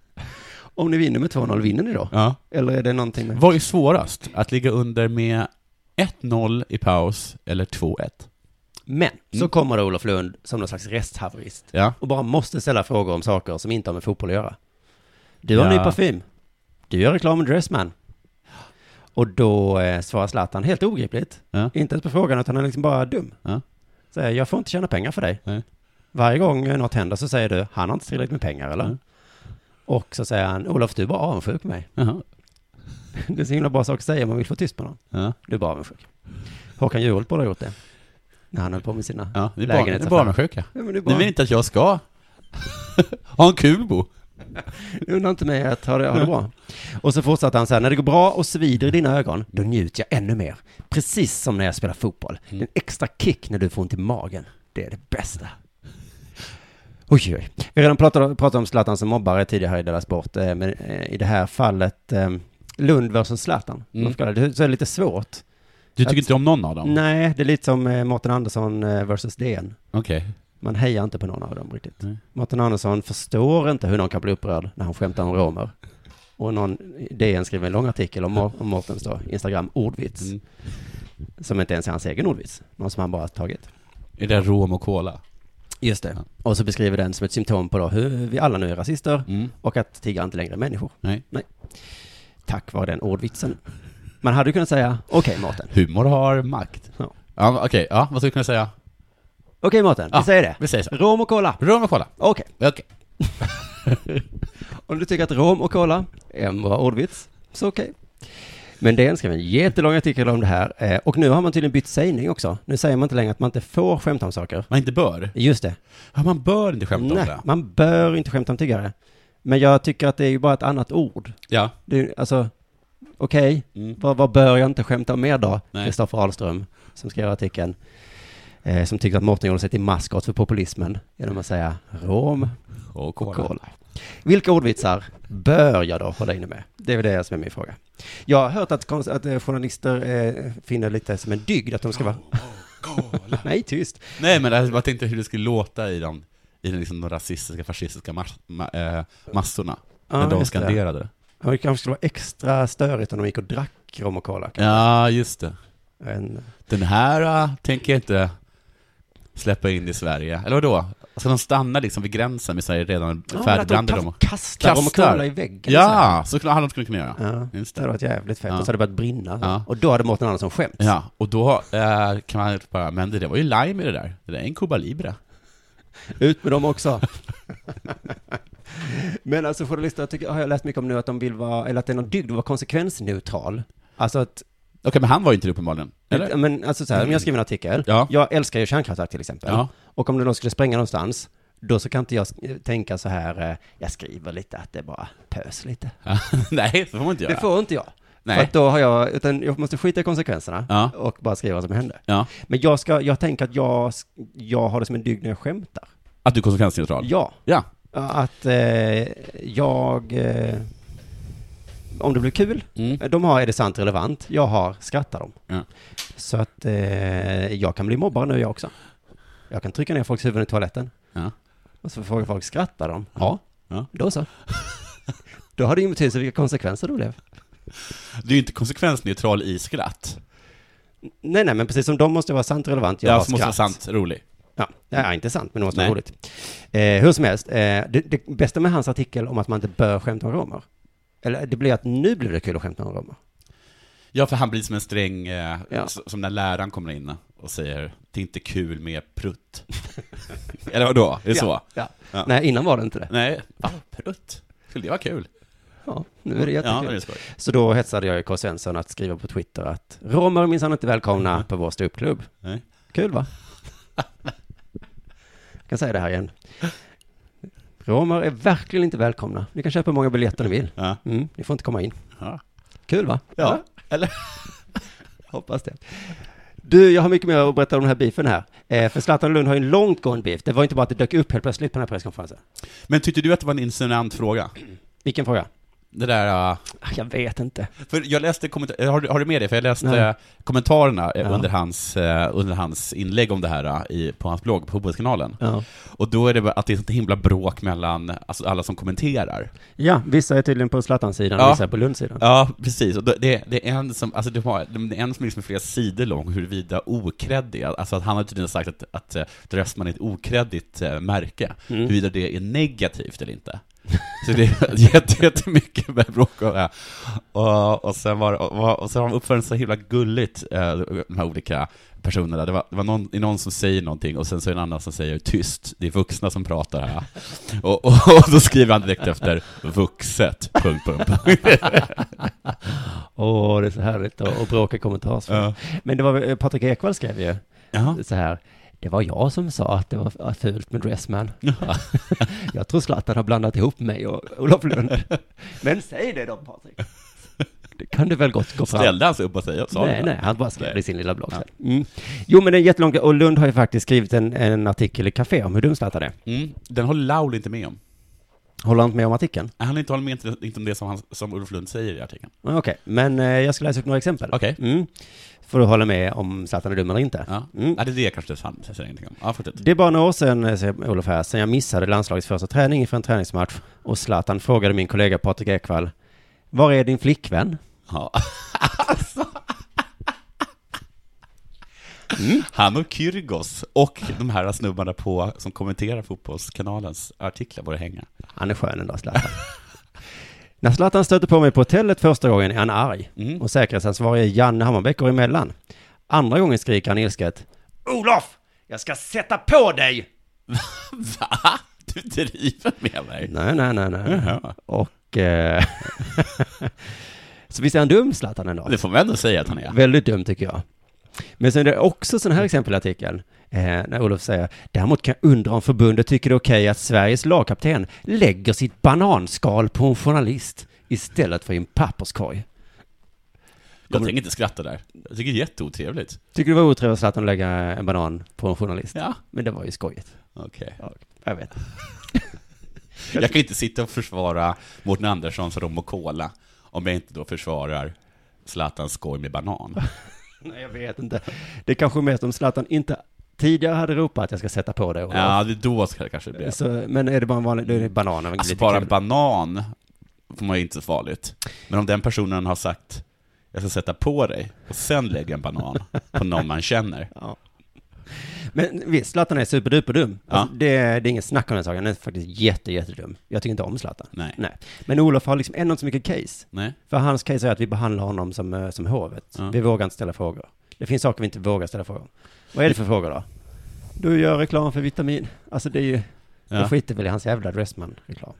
[SPEAKER 3] Om ni vinner med 2-0, vinner ni då?
[SPEAKER 4] Ja.
[SPEAKER 3] Eller är det någonting med...
[SPEAKER 4] Vad är svårast? Att ligga under med 1-0 i paus eller 2-1?
[SPEAKER 3] Men, så
[SPEAKER 4] Mm.
[SPEAKER 3] kommer det Olof Lund som någon slags resthaverist
[SPEAKER 4] Ja.
[SPEAKER 3] och bara måste ställa frågor om saker som inte har med fotboll att göra. Du har
[SPEAKER 4] Ja.
[SPEAKER 3] ny parfym. Du gör reklam med Dressman. Och då eh, svarar Zlatan helt ogripligt.
[SPEAKER 4] Ja.
[SPEAKER 3] Inte ens på frågan, utan han är liksom bara dum.
[SPEAKER 4] Ja.
[SPEAKER 3] Säger, jag får inte tjäna pengar för dig.
[SPEAKER 4] Nej.
[SPEAKER 3] Varje gång eh, något händer så säger du, han har inte tillräckligt med pengar eller?
[SPEAKER 4] Ja.
[SPEAKER 3] Och så säger han, Olof du är bara avundsjuk på mig. [laughs]
[SPEAKER 4] Jaha.
[SPEAKER 3] Det är så himla bra sak att säga om man vill få tyst på någon.
[SPEAKER 4] Ja.
[SPEAKER 3] Du är bara avundsjuk. Håkan Juholt borde ha gjort det. När han höll på med sina
[SPEAKER 4] Ja, det är barn- det är
[SPEAKER 3] lägenhetsaffärer.
[SPEAKER 4] barnsjuka.
[SPEAKER 3] Ja, men det är
[SPEAKER 4] Ni
[SPEAKER 3] bara...
[SPEAKER 4] vill inte att jag ska [laughs] ha en kul bo?
[SPEAKER 3] Undra inte mig att ha det, ha det bra. Och så fortsatte han så här, när det går bra och svider i dina ögon, då njuter jag ännu mer. Precis som när jag spelar fotboll. Det är en extra kick när du får ont i magen. Det är det bästa. Oj, oj. Vi har redan pratat, pratat om Zlatan som mobbare tidigare här i Della Sport, eh, men eh, i det här fallet eh, Lund versus Zlatan.
[SPEAKER 4] Mm.
[SPEAKER 3] Varför kallar jag det- Så är det lite svårt.
[SPEAKER 4] Du tycker
[SPEAKER 3] Att-
[SPEAKER 4] inte om någon av dem?
[SPEAKER 3] Nej, det är lite som eh, Mårten Andersson eh, versus DN.
[SPEAKER 4] Okej.
[SPEAKER 3] Man hejar inte på någon av dem riktigt.
[SPEAKER 4] Nej.
[SPEAKER 3] Mårten Andersson förstår inte hur någon kan bli upprörd när han skämtar om romer. Och någon DN skriver en lång artikel om, Mor- om Mårtens då, Instagram ordvits.
[SPEAKER 4] Mm.
[SPEAKER 3] Som inte ens är hans egen ordvits. Någon som han bara har tagit.
[SPEAKER 4] Är det rom och cola?
[SPEAKER 3] Just det. Och så beskriver den som ett symptom på då hur vi alla nu är rasister
[SPEAKER 4] Mm.
[SPEAKER 3] och att tiggare inte längre är människor.
[SPEAKER 4] Nej.
[SPEAKER 3] Tack vare den ordvitsen. Man hade ju kunnat säga, okej Mårten.
[SPEAKER 4] Humor har makt.
[SPEAKER 3] Ja.
[SPEAKER 4] Ja. Okej, ja, vad skulle jag kunna säga?
[SPEAKER 3] Okej Mårten, vi
[SPEAKER 4] Ja,
[SPEAKER 3] säger det.
[SPEAKER 4] Vi säger så.
[SPEAKER 3] Rom och cola.
[SPEAKER 4] Rom och cola.
[SPEAKER 3] Okej.
[SPEAKER 4] Okej.
[SPEAKER 3] Om du tycker att rom och cola är en bra ordvits, så okej. Men DN skrev en jättelång artikel om det här eh, och nu har man tydligen bytt sägning också. Nu säger man inte längre att man inte får skämta om saker.
[SPEAKER 4] Man inte bör.
[SPEAKER 3] Just det.
[SPEAKER 4] Ja, man bör inte skämta om
[SPEAKER 3] Nej,
[SPEAKER 4] det.
[SPEAKER 3] man bör inte skämta om tiggare. Men jag tycker att det är ju bara ett annat ord.
[SPEAKER 4] Ja.
[SPEAKER 3] Det är, alltså, okej,
[SPEAKER 4] Mm.
[SPEAKER 3] vad, vad bör jag inte skämta om mer då?
[SPEAKER 4] Nej.
[SPEAKER 3] Kristoffer Ahlström, som skrev artikeln, eh, som tyckte att Mårten gjorde sig till maskot för populismen genom att säga rom
[SPEAKER 4] Och cola.
[SPEAKER 3] Cola. Vilka ordvitsar bör jag då hålla inne med? Det är väl det som är min fråga. Jag har hört att, konst, att eh, journalister eh, finner lite som en dygd att de ska vara... [laughs] Nej, tyst.
[SPEAKER 4] Nej, men jag bara tänkte hur det skulle låta i de, i de, liksom, de rasistiska, fascistiska mas, ma, eh, massorna.
[SPEAKER 3] Ja,
[SPEAKER 4] när de
[SPEAKER 3] just det.
[SPEAKER 4] skanderade. Det.
[SPEAKER 3] Ja, Det kanske skulle vara extra störigt om de gick och drack rom och cola. kanske.
[SPEAKER 4] Ja, just det.
[SPEAKER 3] En,
[SPEAKER 4] Den här äh, tänker jag inte släppa in i Sverige. Eller vadå? Alltså de stannar liksom vid gränsen med så här redan
[SPEAKER 3] Ja, men att
[SPEAKER 4] färdigbrandade
[SPEAKER 3] de
[SPEAKER 4] dem.
[SPEAKER 3] ka- kastar dem och
[SPEAKER 4] Kastar.
[SPEAKER 3] knullar i väggen. så här.
[SPEAKER 4] Ja, så hade de skulle kunna göra.
[SPEAKER 3] Ja,
[SPEAKER 4] Just
[SPEAKER 3] det
[SPEAKER 4] det.
[SPEAKER 3] hade varit jävligt fett.
[SPEAKER 4] Ja.
[SPEAKER 3] Och så hade det börjat brinna.
[SPEAKER 4] Ja.
[SPEAKER 3] Och då hade Mårten Andersson skämt.
[SPEAKER 4] Ja, och då eh, kan man bara, men det där var ju lime i det där. Det där är en Cuba Libre.
[SPEAKER 3] Ut med dem [laughs] också. Men alltså journalister jag tycker, har jag läst mycket om nu att de vill vara, eller att det är någon dygd att vara konsekvensneutral. Alltså att,
[SPEAKER 4] Okej, men han var ju inte det uppenbarligen. Eller?
[SPEAKER 3] men alltså så här, om jag skriver en artikel,
[SPEAKER 4] Ja.
[SPEAKER 3] jag älskar ju kärnkraftverk till exempel.
[SPEAKER 4] Ja.
[SPEAKER 3] Och om det då skulle spränga någonstans, då så kan inte jag sk- tänka så här, eh, jag skriver lite att det är bara pös lite.
[SPEAKER 4] [laughs] Nej, det får man inte göra.
[SPEAKER 3] Det får inte jag.
[SPEAKER 4] Nej.
[SPEAKER 3] För att då har jag, utan jag måste skita i konsekvenserna
[SPEAKER 4] Ja.
[SPEAKER 3] och bara skriva vad som hände.
[SPEAKER 4] Ja.
[SPEAKER 3] Men jag ska, jag tänker att jag, sk- jag har det som en dygd när jag skämtar.
[SPEAKER 4] Att du är konsekvensneutral?
[SPEAKER 3] Ja.
[SPEAKER 4] Ja.
[SPEAKER 3] Att eh, jag... Eh, om det blir kul,
[SPEAKER 4] Mm.
[SPEAKER 3] de har är det sant relevant, jag har skrattar dem.
[SPEAKER 4] Ja.
[SPEAKER 3] Så att eh, jag kan bli mobbare nu jag också. Jag kan trycka ner folks huvuden i toaletten.
[SPEAKER 4] Ja.
[SPEAKER 3] Och så frågar folk, skrattar de? Ja.
[SPEAKER 4] Ja.
[SPEAKER 3] Då
[SPEAKER 4] [laughs]
[SPEAKER 3] så. Då har det ingen betydelse vilka konsekvenser det blev.
[SPEAKER 4] Du är ju inte konsekvensneutral i skratt.
[SPEAKER 3] Nej, nej, men precis som de måste vara sant relevant, jag
[SPEAKER 4] ja,
[SPEAKER 3] har
[SPEAKER 4] som måste vara
[SPEAKER 3] skratt.
[SPEAKER 4] sant rolig.
[SPEAKER 3] Ja, ja, inte sant, men det måste vara
[SPEAKER 4] Nej.
[SPEAKER 3] roligt. Eh, hur som helst, eh, det, det bästa med hans artikel om att man inte bör skämta om romer, eller det blir att nu blir det kul att skämta om romer.
[SPEAKER 4] Ja, för han blir som en sträng, eh,
[SPEAKER 3] Ja.
[SPEAKER 4] s- som när läraren kommer in och säger det är inte kul med prutt. [laughs] Eller vadå? Är det så?
[SPEAKER 3] Ja.
[SPEAKER 4] Ja.
[SPEAKER 3] Nej, innan var det inte det.
[SPEAKER 4] Nej, va? Prutt? Skulle det vara kul?
[SPEAKER 3] Ja, nu är det
[SPEAKER 4] Ja, det
[SPEAKER 3] jättekul.
[SPEAKER 4] är skoj.
[SPEAKER 3] Så då hetsade jag ju K. Svensson att skriva på Twitter att romer är minsann inte välkomna på vår ståuppklubb.
[SPEAKER 4] Nej.
[SPEAKER 3] Kul va? Jag kan säga det här igen. Romer är verkligen inte välkomna. Ni kan köpa hur många biljetter ni vill.
[SPEAKER 4] Ja.
[SPEAKER 3] Mm, ni får inte komma in.
[SPEAKER 4] Ja.
[SPEAKER 3] Kul va?
[SPEAKER 4] ja. Eller?
[SPEAKER 3] Hoppas det. Du, jag har mycket mer att berätta om den här beefen här. Eh, för Zlatan Lund har ju en långt gående beef. Det var inte bara att det dök upp helt plötsligt på den här presskonferensen.
[SPEAKER 4] Men tyckte du att det var en insinuant fråga?
[SPEAKER 3] Vilken fråga?
[SPEAKER 4] Det där, eh,
[SPEAKER 3] Ah, Jag vet inte.
[SPEAKER 4] för jag läste kommenta- eh, har, du- har du med det? För jag läste
[SPEAKER 3] Nej.
[SPEAKER 4] eh, kommentarerna eh,
[SPEAKER 3] Ja.
[SPEAKER 4] under, hans, eh, under hans inlägg om det här eh, i, på hans blogg, på Fotbollskanalen.
[SPEAKER 3] Ja.
[SPEAKER 4] Och då är det bara att det är sånt himla bråk mellan alltså, alla som kommenterar.
[SPEAKER 3] ja, vissa är tydligen på Zlatan-sidan och
[SPEAKER 4] Ja.
[SPEAKER 3] vissa är på Lund-sidan.
[SPEAKER 4] Ja, precis. Och då- det, det är en som, alltså det var, det är en som liksom är flera sidor lång huruvida okreddig, alltså att han har tydligen sagt att, att eh, Dressman är ett okreddigt eh, märke,
[SPEAKER 3] Mm.
[SPEAKER 4] huruvida det är negativt eller inte. Så det är [laughs] jätte- jättemycket med bråk om det. här. Och, och sen var det- och, och sen har de uppfört så himla gulligt, eh, de här olika personerna. Det var, det var någon, det är någon som säger någonting och sen så är det en annan som säger tyst, det är vuxna som pratar här. Och, och, och då skriver han direkt efter, vuxet, punkt, punkt, punkt.
[SPEAKER 3] Åh, det är så härligt att att bråka i kommentarsfält.
[SPEAKER 4] Ja.
[SPEAKER 3] Men det var eh, Patrik Ekwall skrev ju
[SPEAKER 4] Jaha.
[SPEAKER 3] så här. Det var jag som sa att det var fult med
[SPEAKER 4] [laughs]
[SPEAKER 3] Dressman. jag tror Zlatan har blandat ihop mig och Olof Lund. Men säg det då, Patrik. Det kan du väl gott gå fram
[SPEAKER 4] Ställde han sig upp och säga, sa
[SPEAKER 3] nej,
[SPEAKER 4] det?
[SPEAKER 3] nej, han bara skrev
[SPEAKER 4] Nej.
[SPEAKER 3] det i sin lilla blogg. sen. Mm. Jo, men det är jättelångt. Och Lund har ju faktiskt skrivit en, en artikel i Café om hur dum Zlatan är.
[SPEAKER 4] Mm. Den håller Laul inte med om.
[SPEAKER 3] Håller han inte med om artikeln?
[SPEAKER 4] Han har inte håller med inte, inte om det som, han, som Ulf Lund säger i artikeln.
[SPEAKER 3] Ja, Okej, men eh, jag ska läsa upp några exempel.
[SPEAKER 4] Okej.
[SPEAKER 3] Mm. Får du hålla med om Zlatan är dum eller inte?
[SPEAKER 4] Ja.
[SPEAKER 3] Mm.
[SPEAKER 4] ja, det är det kanske det han säger ingenting om. Ja, fortsätt.
[SPEAKER 3] Det är bara några år sedan, eh, säger Olof här, sen jag missade landslagets första träning inför en träningsmatch och Zlatan frågade min kollega Patrik Ekwall, var är din flickvän?
[SPEAKER 4] Ja. Mm. Han och Kyrgos och de här snubbarna på, som kommenterar Fotbollskanalens artiklar borde hänga.
[SPEAKER 3] Han är skön ändå, [laughs] Zlatan. När Zlatan stöter på mig på hotellet första gången är han arg
[SPEAKER 4] Mm.
[SPEAKER 3] och säkerhetsansvarige Janne Hammarbäck går emellan. Andra gången skriker han ilsket Olof! Jag ska sätta på dig!
[SPEAKER 4] Va? Du driver med mig?
[SPEAKER 3] Nej, nej, nej, nej.
[SPEAKER 4] Jaha.
[SPEAKER 3] Och... Eh... [laughs] så visst är han dum, Zlatan ändå?
[SPEAKER 4] Det får man ändå säga att han är.
[SPEAKER 3] Väldigt dum tycker jag. Men sen är det också sådana här exempel i artikeln, eh, när Olof säger Däremot kan jag undra om förbundet tycker det är okej att Sveriges lagkapten lägger sitt bananskal på en journalist istället för i en papperskorg.
[SPEAKER 4] Jag tänker inte skratta där. Jag tycker det är jätteotrevligt.
[SPEAKER 3] Tycker du det var otrevligt att lägga en banan på en journalist?
[SPEAKER 4] Ja,
[SPEAKER 3] Men det var ju skojigt.
[SPEAKER 4] okej.
[SPEAKER 3] Jag vet. [laughs]
[SPEAKER 4] Jag kan inte sitta och försvara Mårten Anderssons rom och cola om jag inte då försvarar Zlatans skoj med banan.
[SPEAKER 3] Nej, jag vet inte. Det är kanske mest om Zlatan inte tidigare hade ropat att jag ska sätta på dig. Olof.
[SPEAKER 4] Ja, det är då ska det kanske bli.
[SPEAKER 3] Så, men är det bara en vanlig, då är det banan. och
[SPEAKER 4] Alltså
[SPEAKER 3] lite
[SPEAKER 4] bara
[SPEAKER 3] kul.
[SPEAKER 4] en banan får man ju inte så farligt. Men om den personen har sagt jag ska sätta på dig och sen lägga en banan på någon man känner.
[SPEAKER 3] Ja. Men visst, Zlatan är superduperdum. Alltså,
[SPEAKER 4] Ja.
[SPEAKER 3] det, det är ingen snack om den saken. Han är faktiskt jätte, jättedum. Jag tycker inte om Zlatan.
[SPEAKER 4] Nej.
[SPEAKER 3] Nej. Men Olof har liksom ändå inte så mycket case.
[SPEAKER 4] Nej.
[SPEAKER 3] För hans case är att vi behandlar honom som, eh, som hovet.
[SPEAKER 4] Ja.
[SPEAKER 3] Vi vågar inte ställa frågor. Det finns saker vi inte vågar ställa frågor om. Vad är det för frågor då? Du gör reklam för vitamin. Alltså det är ju, det
[SPEAKER 4] Ja.
[SPEAKER 3] skiter väl i hans jävla Dressman-reklam.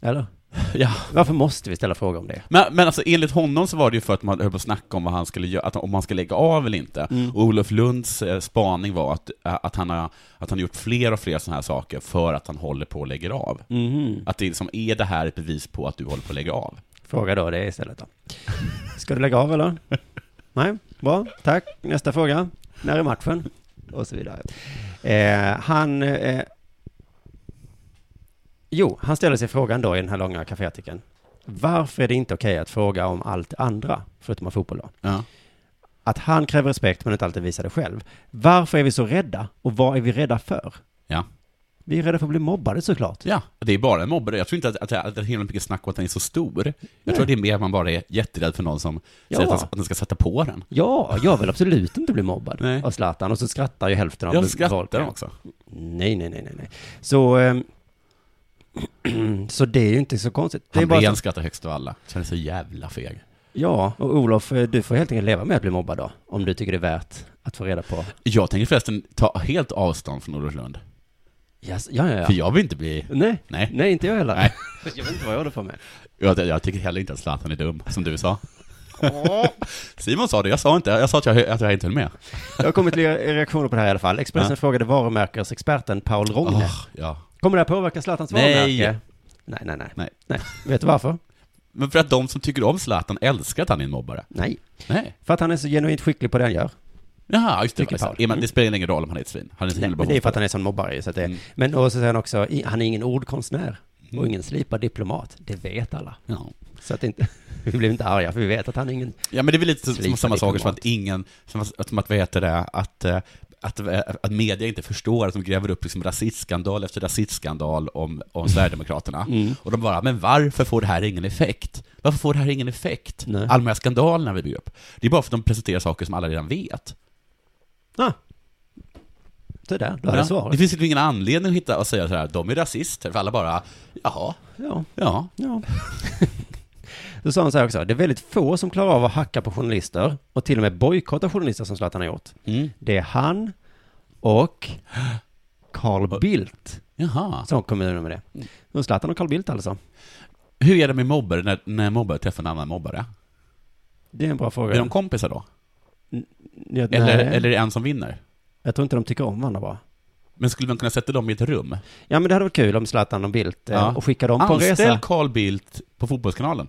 [SPEAKER 3] Eller?
[SPEAKER 4] Ja.
[SPEAKER 3] Varför måste vi ställa frågor om det?
[SPEAKER 4] Men, men alltså enligt honom så var det ju för att man höll på att snacka om vad han skulle göra, att, om han ska lägga av eller inte.
[SPEAKER 3] Mm.
[SPEAKER 4] Och Olof Lunds eh, spaning var att, eh, att, han har, att han har gjort fler och fler sådana här saker för att han håller på att lägga av.
[SPEAKER 3] Mhm.
[SPEAKER 4] Att det liksom, är det här ett bevis på att du håller på att lägga av?
[SPEAKER 3] Fråga då det istället då. [laughs] Ska du lägga av [laughs] eller? Nej, bra, tack. Nästa fråga. När är matchen? Och så vidare. Eh, han... Eh, jo, han ställer sig frågan då i den här långa kaféartikeln. Varför är det inte okej att fråga om allt andra, förutom om fotboll då?
[SPEAKER 4] Ja.
[SPEAKER 3] Att han kräver respekt men inte alltid visar det själv. Varför är vi så rädda? Och vad är vi rädda för?
[SPEAKER 4] Ja.
[SPEAKER 3] Vi är rädda för att bli mobbade såklart.
[SPEAKER 4] Ja, det är bara en mobbare. Jag tror inte att, att, att det är himla mycket snack om att den är så stor. Jag tror att det är mer att man bara är jätterädd för någon som
[SPEAKER 3] Ja.
[SPEAKER 4] säger att, den- att den ska sätta på den.
[SPEAKER 3] Ja, jag vill absolut inte bli mobbad
[SPEAKER 4] Nej.
[SPEAKER 3] av Zlatan. Och så skrattar ju hälften av
[SPEAKER 4] Jag
[SPEAKER 3] folk.
[SPEAKER 4] skrattar också.
[SPEAKER 3] Nej, nej, nej, nej, nej. Så, ehm, [clears throat] så det är ju inte så konstigt. Det är bara
[SPEAKER 4] Hamrén
[SPEAKER 3] så,
[SPEAKER 4] skrattar högst av alla. Känner sig jävla feg.
[SPEAKER 3] ja, och Olof, eh, du får helt enkelt leva med att bli mobbad då, om du tycker det är värt att få reda på.
[SPEAKER 4] Jag tänker förresten ta helt avstånd från Olof Lund.
[SPEAKER 3] Yes, ja, ja,
[SPEAKER 4] För
[SPEAKER 3] ja.
[SPEAKER 4] jag vill inte bli...
[SPEAKER 3] Nej,
[SPEAKER 4] Nej.
[SPEAKER 3] nej, inte jag heller.
[SPEAKER 4] Nej.
[SPEAKER 3] [laughs] Jag vet inte vad jag håller på med.
[SPEAKER 4] Jag, jag tycker heller inte att Zlatan är dum, som du sa. Simon sa det, jag sa inte. Jag sa att jag, att jag inte höll med.
[SPEAKER 3] Jag har kommit till re- reaktioner på det här i alla fall. Expressen
[SPEAKER 4] Ja.
[SPEAKER 3] frågade varumärkesexperten Paul Rogne.
[SPEAKER 4] Åh, Ah, ja.
[SPEAKER 3] Kommer det här påverka Zlatans
[SPEAKER 4] Nej.
[SPEAKER 3] varumärke? Nej, nej, nej,
[SPEAKER 4] Nej.
[SPEAKER 3] nej. Vet du varför?
[SPEAKER 4] Men för att de som tycker om Zlatan älskar att han är en mobbare.
[SPEAKER 3] Nej.
[SPEAKER 4] Nej.
[SPEAKER 3] För att han är så genuint skicklig på det han gör.
[SPEAKER 4] Jaha, just det.
[SPEAKER 3] Tycker Paul.
[SPEAKER 4] Ja, men det spelar ingen roll om han är ett svin. Han är så
[SPEAKER 3] Nej,
[SPEAKER 4] himla
[SPEAKER 3] men
[SPEAKER 4] bra
[SPEAKER 3] det är för att han är sån mobbare ju, så att det,
[SPEAKER 4] Mm.
[SPEAKER 3] Men och så säger han också, i- han är ingen ordkonstnär och ingen slipad diplomat. Det vet alla.
[SPEAKER 4] Ja.
[SPEAKER 3] Så att det
[SPEAKER 4] [laughs]
[SPEAKER 3] inte, [laughs] vi blev inte arga, för vi vet att han är ingen...
[SPEAKER 4] Ja men det är väl lite som
[SPEAKER 3] Slipad
[SPEAKER 4] samma saker som
[SPEAKER 3] diplomat.
[SPEAKER 4] att ingen, som, att- som att vad heter det, att, eh, att, eh, att media inte förstår att de gräver upp liksom rasistskandal efter rasistskandal om, om Sverigedemokraterna. Och de bara, men varför får det här ingen effekt? Varför får det här ingen effekt?
[SPEAKER 3] Nej.
[SPEAKER 4] Alla de här skandalerna vi bygger upp. Det är bara för att de presenterar saker som alla redan vet.
[SPEAKER 3] Ah. Så där, då har
[SPEAKER 4] Ja,
[SPEAKER 3] jag
[SPEAKER 4] det
[SPEAKER 3] svaret.
[SPEAKER 4] finns ju ingen anledning att hitta och säga så här, de är rasister, för alla bara, jaha,
[SPEAKER 3] Ja.
[SPEAKER 4] ja.
[SPEAKER 3] ja. [laughs] Då sa han så här också, det är väldigt få som klarar av att hacka på journalister och till och med bojkotta journalister som Zlatan har gjort.
[SPEAKER 4] Mm.
[SPEAKER 3] Det är han
[SPEAKER 4] [gasps]
[SPEAKER 3] och Carl Bildt
[SPEAKER 4] Jaha.
[SPEAKER 3] som kommer nu med
[SPEAKER 4] Mm.
[SPEAKER 3] det. Och Zlatan och Carl Bildt alltså.
[SPEAKER 4] Hur är det med mobbare när, när mobbare träffar en annan mobbare?
[SPEAKER 3] Det är en bra fråga.
[SPEAKER 4] Är de kompisar då?
[SPEAKER 3] Ja,
[SPEAKER 4] Eller,
[SPEAKER 3] nej.
[SPEAKER 4] eller är det en som vinner?
[SPEAKER 3] Jag tror inte de tycker om varandra bara.
[SPEAKER 4] Men skulle man kunna sätta dem i ett rum?
[SPEAKER 3] Ja men det hade varit kul om Zlatan och Bildt eh,
[SPEAKER 4] Ja.
[SPEAKER 3] och skicka dem på en
[SPEAKER 4] Anställ
[SPEAKER 3] resa.
[SPEAKER 4] Carl Bildt på Fotbollskanalen.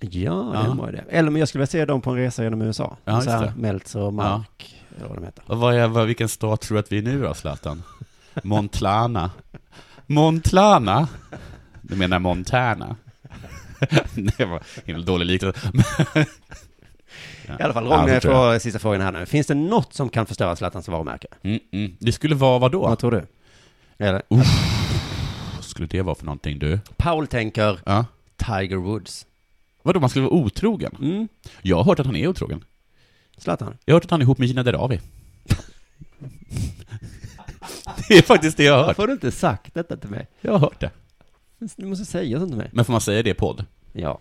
[SPEAKER 3] Ja,
[SPEAKER 4] Ja.
[SPEAKER 3] det var ju det. Eller men jag skulle vilja se dem på en resa genom USA.
[SPEAKER 4] Ja, just
[SPEAKER 3] så här,
[SPEAKER 4] det.
[SPEAKER 3] Meltzer och Mark, eller vad de heter.
[SPEAKER 4] Och vad är, vad, vilken stat tror du att vi är nu då, Zlatan? Montlana. Montlana? Du menar Montana? [laughs] Det var himla dålig liknelse.
[SPEAKER 3] I alla fall,
[SPEAKER 4] Ja,
[SPEAKER 3] Ronny
[SPEAKER 4] det tror
[SPEAKER 3] får sista frågan här nu. Finns det något som kan förstöra Zlatans varumärke?
[SPEAKER 4] Mm, mm. Det skulle vara vad då?
[SPEAKER 3] Vad tror du? Eller,
[SPEAKER 4] Vad skulle det vara för någonting du?
[SPEAKER 3] Paul tänker
[SPEAKER 4] Ja.
[SPEAKER 3] Tiger Woods.
[SPEAKER 4] Vadå, man skulle vara otrogen?
[SPEAKER 3] Mm,
[SPEAKER 4] Jag har hört att han är otrogen.
[SPEAKER 3] Zlatan.
[SPEAKER 4] Jag har hört att han är ihop med Gina Dirawi. [laughs] Det är faktiskt det jag har hört.
[SPEAKER 3] Varför har du inte sagt detta till mig?
[SPEAKER 4] Jag har hört det.
[SPEAKER 3] Du måste säga sånt till mig.
[SPEAKER 4] Men får man säga det i podd?
[SPEAKER 3] Ja.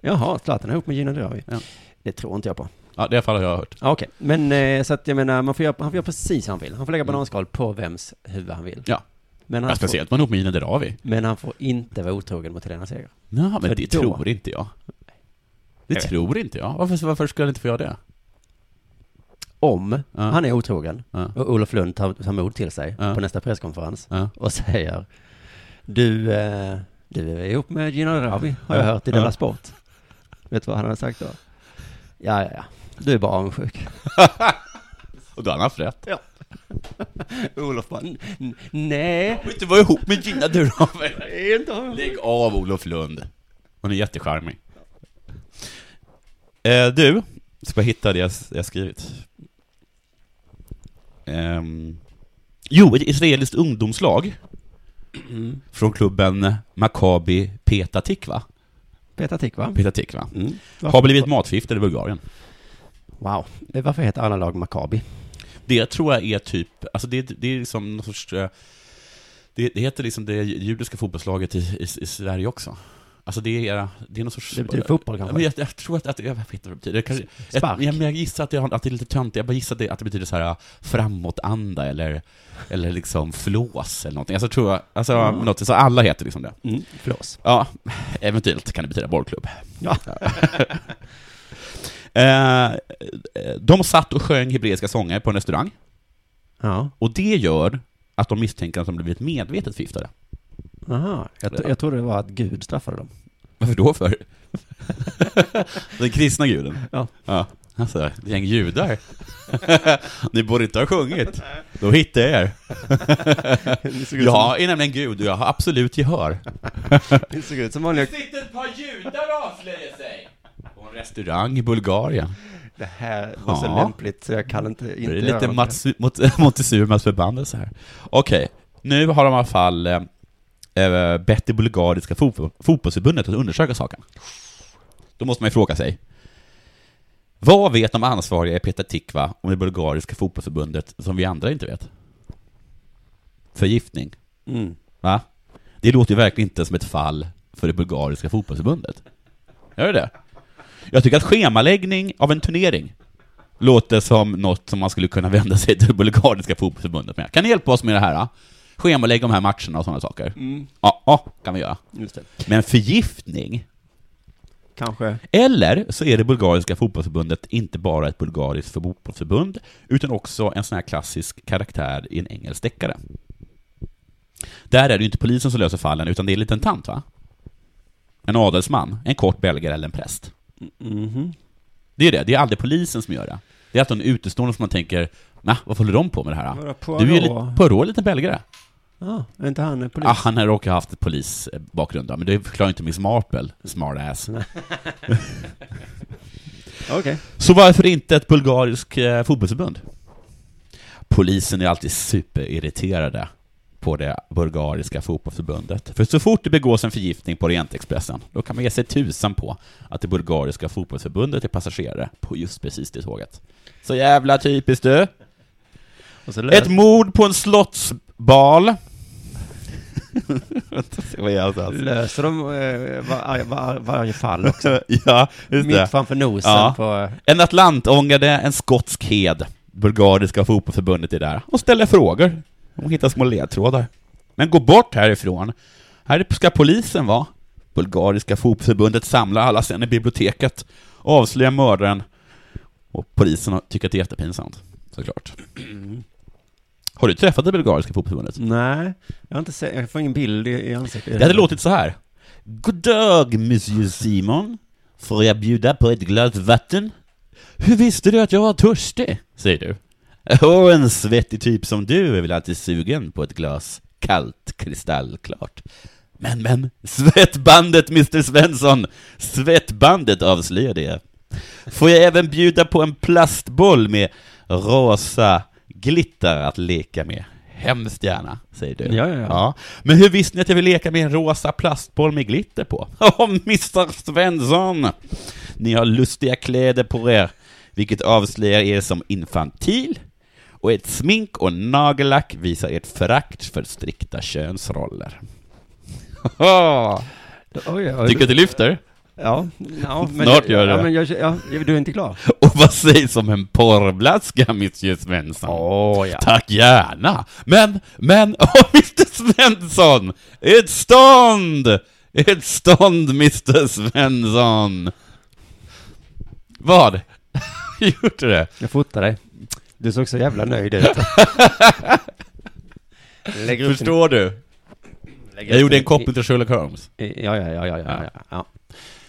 [SPEAKER 3] Jaha, Zlatan är ihop med Gina Dirawi.
[SPEAKER 4] Ja.
[SPEAKER 3] Det tror inte jag på.
[SPEAKER 4] Ja, det är i alla fall jag har hört.
[SPEAKER 3] Ja, Okej, men eh, så att jag menar, man får göra, han får göra precis som han vill. Han får lägga bananskal på vems huvud han vill.
[SPEAKER 4] Mm. Ja.
[SPEAKER 3] Men
[SPEAKER 4] Ja,
[SPEAKER 3] han, får,
[SPEAKER 4] speciellt man ihop med Gina Dirawi.
[SPEAKER 3] men han får inte vara otrogen mot Helena Seger.
[SPEAKER 4] Nej, men
[SPEAKER 3] För
[SPEAKER 4] det
[SPEAKER 3] då-
[SPEAKER 4] tror inte jag. Det
[SPEAKER 3] Jag vet.
[SPEAKER 4] tror inte jag. Varför, varför skulle jag inte få göra det?
[SPEAKER 3] Om
[SPEAKER 4] Ja.
[SPEAKER 3] han är otrogen
[SPEAKER 4] Ja.
[SPEAKER 3] och Olof Lund tar, tar mod till sig
[SPEAKER 4] Ja.
[SPEAKER 3] på nästa presskonferens
[SPEAKER 4] Ja.
[SPEAKER 3] och säger Du, eh, du är ihop med Gina Ravi har jag
[SPEAKER 4] Ja.
[SPEAKER 3] hört i Della
[SPEAKER 4] Ja.
[SPEAKER 3] Sport. Vet du vad han hade sagt då? Ja, ja, ja. Du är bara avundsjuk.
[SPEAKER 4] [laughs] Och då har han haft rätt. [laughs]
[SPEAKER 3] Olof bara, "N- n- nej,
[SPEAKER 4] Jag inte vara ihop med Gina Dirawi.
[SPEAKER 3] det är inte avundsjuk.
[SPEAKER 4] [laughs] Lägg av Olof Lund. Hon är jättecharmig. Eh, du, ska jag hitta det jag, jag skrivit. Ehm, jo, ett israeliskt ungdomslag
[SPEAKER 3] Mm.
[SPEAKER 4] från klubben Maccabi Peta Tikva,
[SPEAKER 3] Petar Tikva.
[SPEAKER 4] Peta Tikva
[SPEAKER 3] Mm.
[SPEAKER 4] har blivit matförgiftade i Bulgarien.
[SPEAKER 3] Eh, Wow. Varför heter alla lag Maccabi?
[SPEAKER 4] Det tror jag är typ, alltså det, det är liksom någon sorts, eh, det, det heter liksom det judiska fotbollslaget i, i, i Sverige också. Alltså det är, det är någon sorts...
[SPEAKER 3] Det betyder fotboll
[SPEAKER 4] Ja,
[SPEAKER 3] kanske?
[SPEAKER 4] men jag, jag tror att, att jag vet inte vad det betyder. Det kanske, ett,
[SPEAKER 3] Spark.
[SPEAKER 4] jag, men jag gissar att det, har- att det är lite töntigt, jag bara gissar att det, att det betyder så här eh, framåtanda eller, eller liksom flås eller någonting. Alltså tror jag, alltså
[SPEAKER 3] Mm.
[SPEAKER 4] något, så alla heter liksom det.
[SPEAKER 3] Mm, flås.
[SPEAKER 4] Ja, eventuellt kan det betyda bollklubb.
[SPEAKER 3] Ja.
[SPEAKER 4] [laughs] Eh, de satt och sjöng hebreiska sånger på en restaurang,
[SPEAKER 3] Ja.
[SPEAKER 4] och det gör att de misstänker att de blivit medvetet förgiftade.
[SPEAKER 3] Aha. Jag, tro- jag trodde det var att Gud straffade [laughs] dem.
[SPEAKER 4] Varför då för? [laughs] Den kristna guden?
[SPEAKER 3] Ja.
[SPEAKER 4] ja. Alltså, ett gäng judar. [laughs] Ni borde inte ha sjungit. Då hittar jag er. Jag är nämligen gud och jag har absolut gehör.
[SPEAKER 3] Det såg ut som vanliga...
[SPEAKER 4] sitter ett par judar och avslöjar sig. På en restaurang i Bulgarien.
[SPEAKER 3] Det här var så
[SPEAKER 4] Ja.
[SPEAKER 3] lämpligt så jag kan inte... inte
[SPEAKER 4] Det är
[SPEAKER 3] göra
[SPEAKER 4] lite
[SPEAKER 3] något.
[SPEAKER 4] Mats- mot- [laughs] Montezumas förbannelse här. Okej, nu har de i alla fall eh, eh, bett det bulgariska fotbo- fotbollsförbundet att undersöka saken. Då måste man ju fråga sig. Vad vet de ansvariga i Peter Tikva om det bulgariska fotbollsförbundet som vi andra inte vet? Förgiftning,
[SPEAKER 3] Mm.
[SPEAKER 4] va? Det låter ju verkligen inte som ett fall för det bulgariska fotbollsförbundet. Gör det det? Jag tycker att schemaläggning av en turnering låter som något som man skulle kunna vända sig till det bulgariska fotbollsförbundet med. Kan ni hjälpa oss med det här? Då? Schemalägga de här matcherna och sådana saker. Ja, ja, kan vi göra.
[SPEAKER 3] Mm. Just det.
[SPEAKER 4] Men förgiftning?
[SPEAKER 3] Kanske.
[SPEAKER 4] Eller så är det bulgariska fotbollsförbundet inte bara ett bulgariskt fotbollsförbund, utan också en sån här klassisk karaktär i en engelsk deckare. Där är det ju inte polisen som löser fallen, utan det är en liten tant, va? En adelsman, en kort belgare eller en präst.
[SPEAKER 3] Mhm.
[SPEAKER 4] Det är det, det är aldrig polisen som gör det. Det är alltid en utestående som man tänker, nah, vad håller de på med det här? då?"
[SPEAKER 3] Vadå, Poirot?
[SPEAKER 4] Du är ju lite, Poirot är lite belgare.
[SPEAKER 3] Ja, är inte han en polis?
[SPEAKER 4] Ah, han har råkat haft ett polisbakgrund, då, men det förklarar inte Miss Marple, smartass.
[SPEAKER 3] Okej.
[SPEAKER 4] Så varför inte ett bulgariskt eh, fotbollsförbund? Polisen är alltid superirriterade på det bulgariska fotbollsförbundet. För så fort det begås en förgiftning på Orientexpressen, då kan man ge sig tusan på att det bulgariska fotbollsförbundet är passagerare på just precis det tåget. Så jävla typiskt du!
[SPEAKER 3] Och så
[SPEAKER 4] Ett mord på en slottsbal. [laughs] Vad är alltså?
[SPEAKER 3] löser de eh, var, var, varje fall också. [laughs]
[SPEAKER 4] Ja, just det.
[SPEAKER 3] Mitt framför nosen
[SPEAKER 4] Ja.
[SPEAKER 3] på...
[SPEAKER 4] En atlantångare, en skotsk hed. Bulgariska fotbollsförbundet är där och ställer frågor. De hittar små ledtrådar. Men gå bort härifrån. Här ska polisen vara. Bulgariska fotbollsförbundet samlar alla sen i biblioteket och avslöjar mördaren. Och polisen har- tycker att det är jättepinsamt, såklart. Har du träffat det bulgariska fotbollsförbundet?
[SPEAKER 3] Nej, jag har inte sett, jag får ingen bild i, i ansiktet.
[SPEAKER 4] Det hade låtit så här. God dag, monsieur Simon. Får jag bjuda på ett glas vatten? Hur visste du att jag var törstig? Säger du. [laughs] Åh, en svettig typ som du är väl alltid sugen på ett glas kallt, kristallklart. Men, men, svettbandet, Mr Svensson! Svettbandet avslöjar det. Får jag även bjuda på en plastboll med rosa glitter att leka med? Hemskt gärna, säger du.
[SPEAKER 3] Ja, ja, ja.
[SPEAKER 4] Ja. Men hur visste ni att jag vill leka med en rosa plastboll med glitter på? [laughs] Åh, Mr Svensson! Ni har lustiga kläder på er, vilket avslöjar er som infantil. Och ett smink och nagellack visar ert förakt för strikta könsroller.
[SPEAKER 3] Oj, oj,
[SPEAKER 4] [laughs] Tycker du att det lyfter?
[SPEAKER 3] Ja,
[SPEAKER 4] [laughs]
[SPEAKER 3] ja
[SPEAKER 4] Snart gör
[SPEAKER 3] ja,
[SPEAKER 4] det.
[SPEAKER 3] men jag, ja, Du är inte klar?
[SPEAKER 4] [laughs] Och vad sägs om en porrblaska, Mr Svensson?
[SPEAKER 3] Åh, ja.
[SPEAKER 4] Tack gärna! Men, men, [laughs] åh Mr Svensson! Ett stånd! Ett stånd, Mr Svensson! Vad? [laughs] Gjorde du det?
[SPEAKER 3] Jag fotar dig. Du såg så jävla nöjd
[SPEAKER 4] [laughs]
[SPEAKER 3] ut. Lägger upp
[SPEAKER 4] Förstår du?
[SPEAKER 3] din- lägger
[SPEAKER 4] Jag
[SPEAKER 3] upp
[SPEAKER 4] gjorde en
[SPEAKER 3] din-
[SPEAKER 4] koppling till Sherlock Holmes.
[SPEAKER 3] Ja, ja, ja, ja, ja, ja. ja.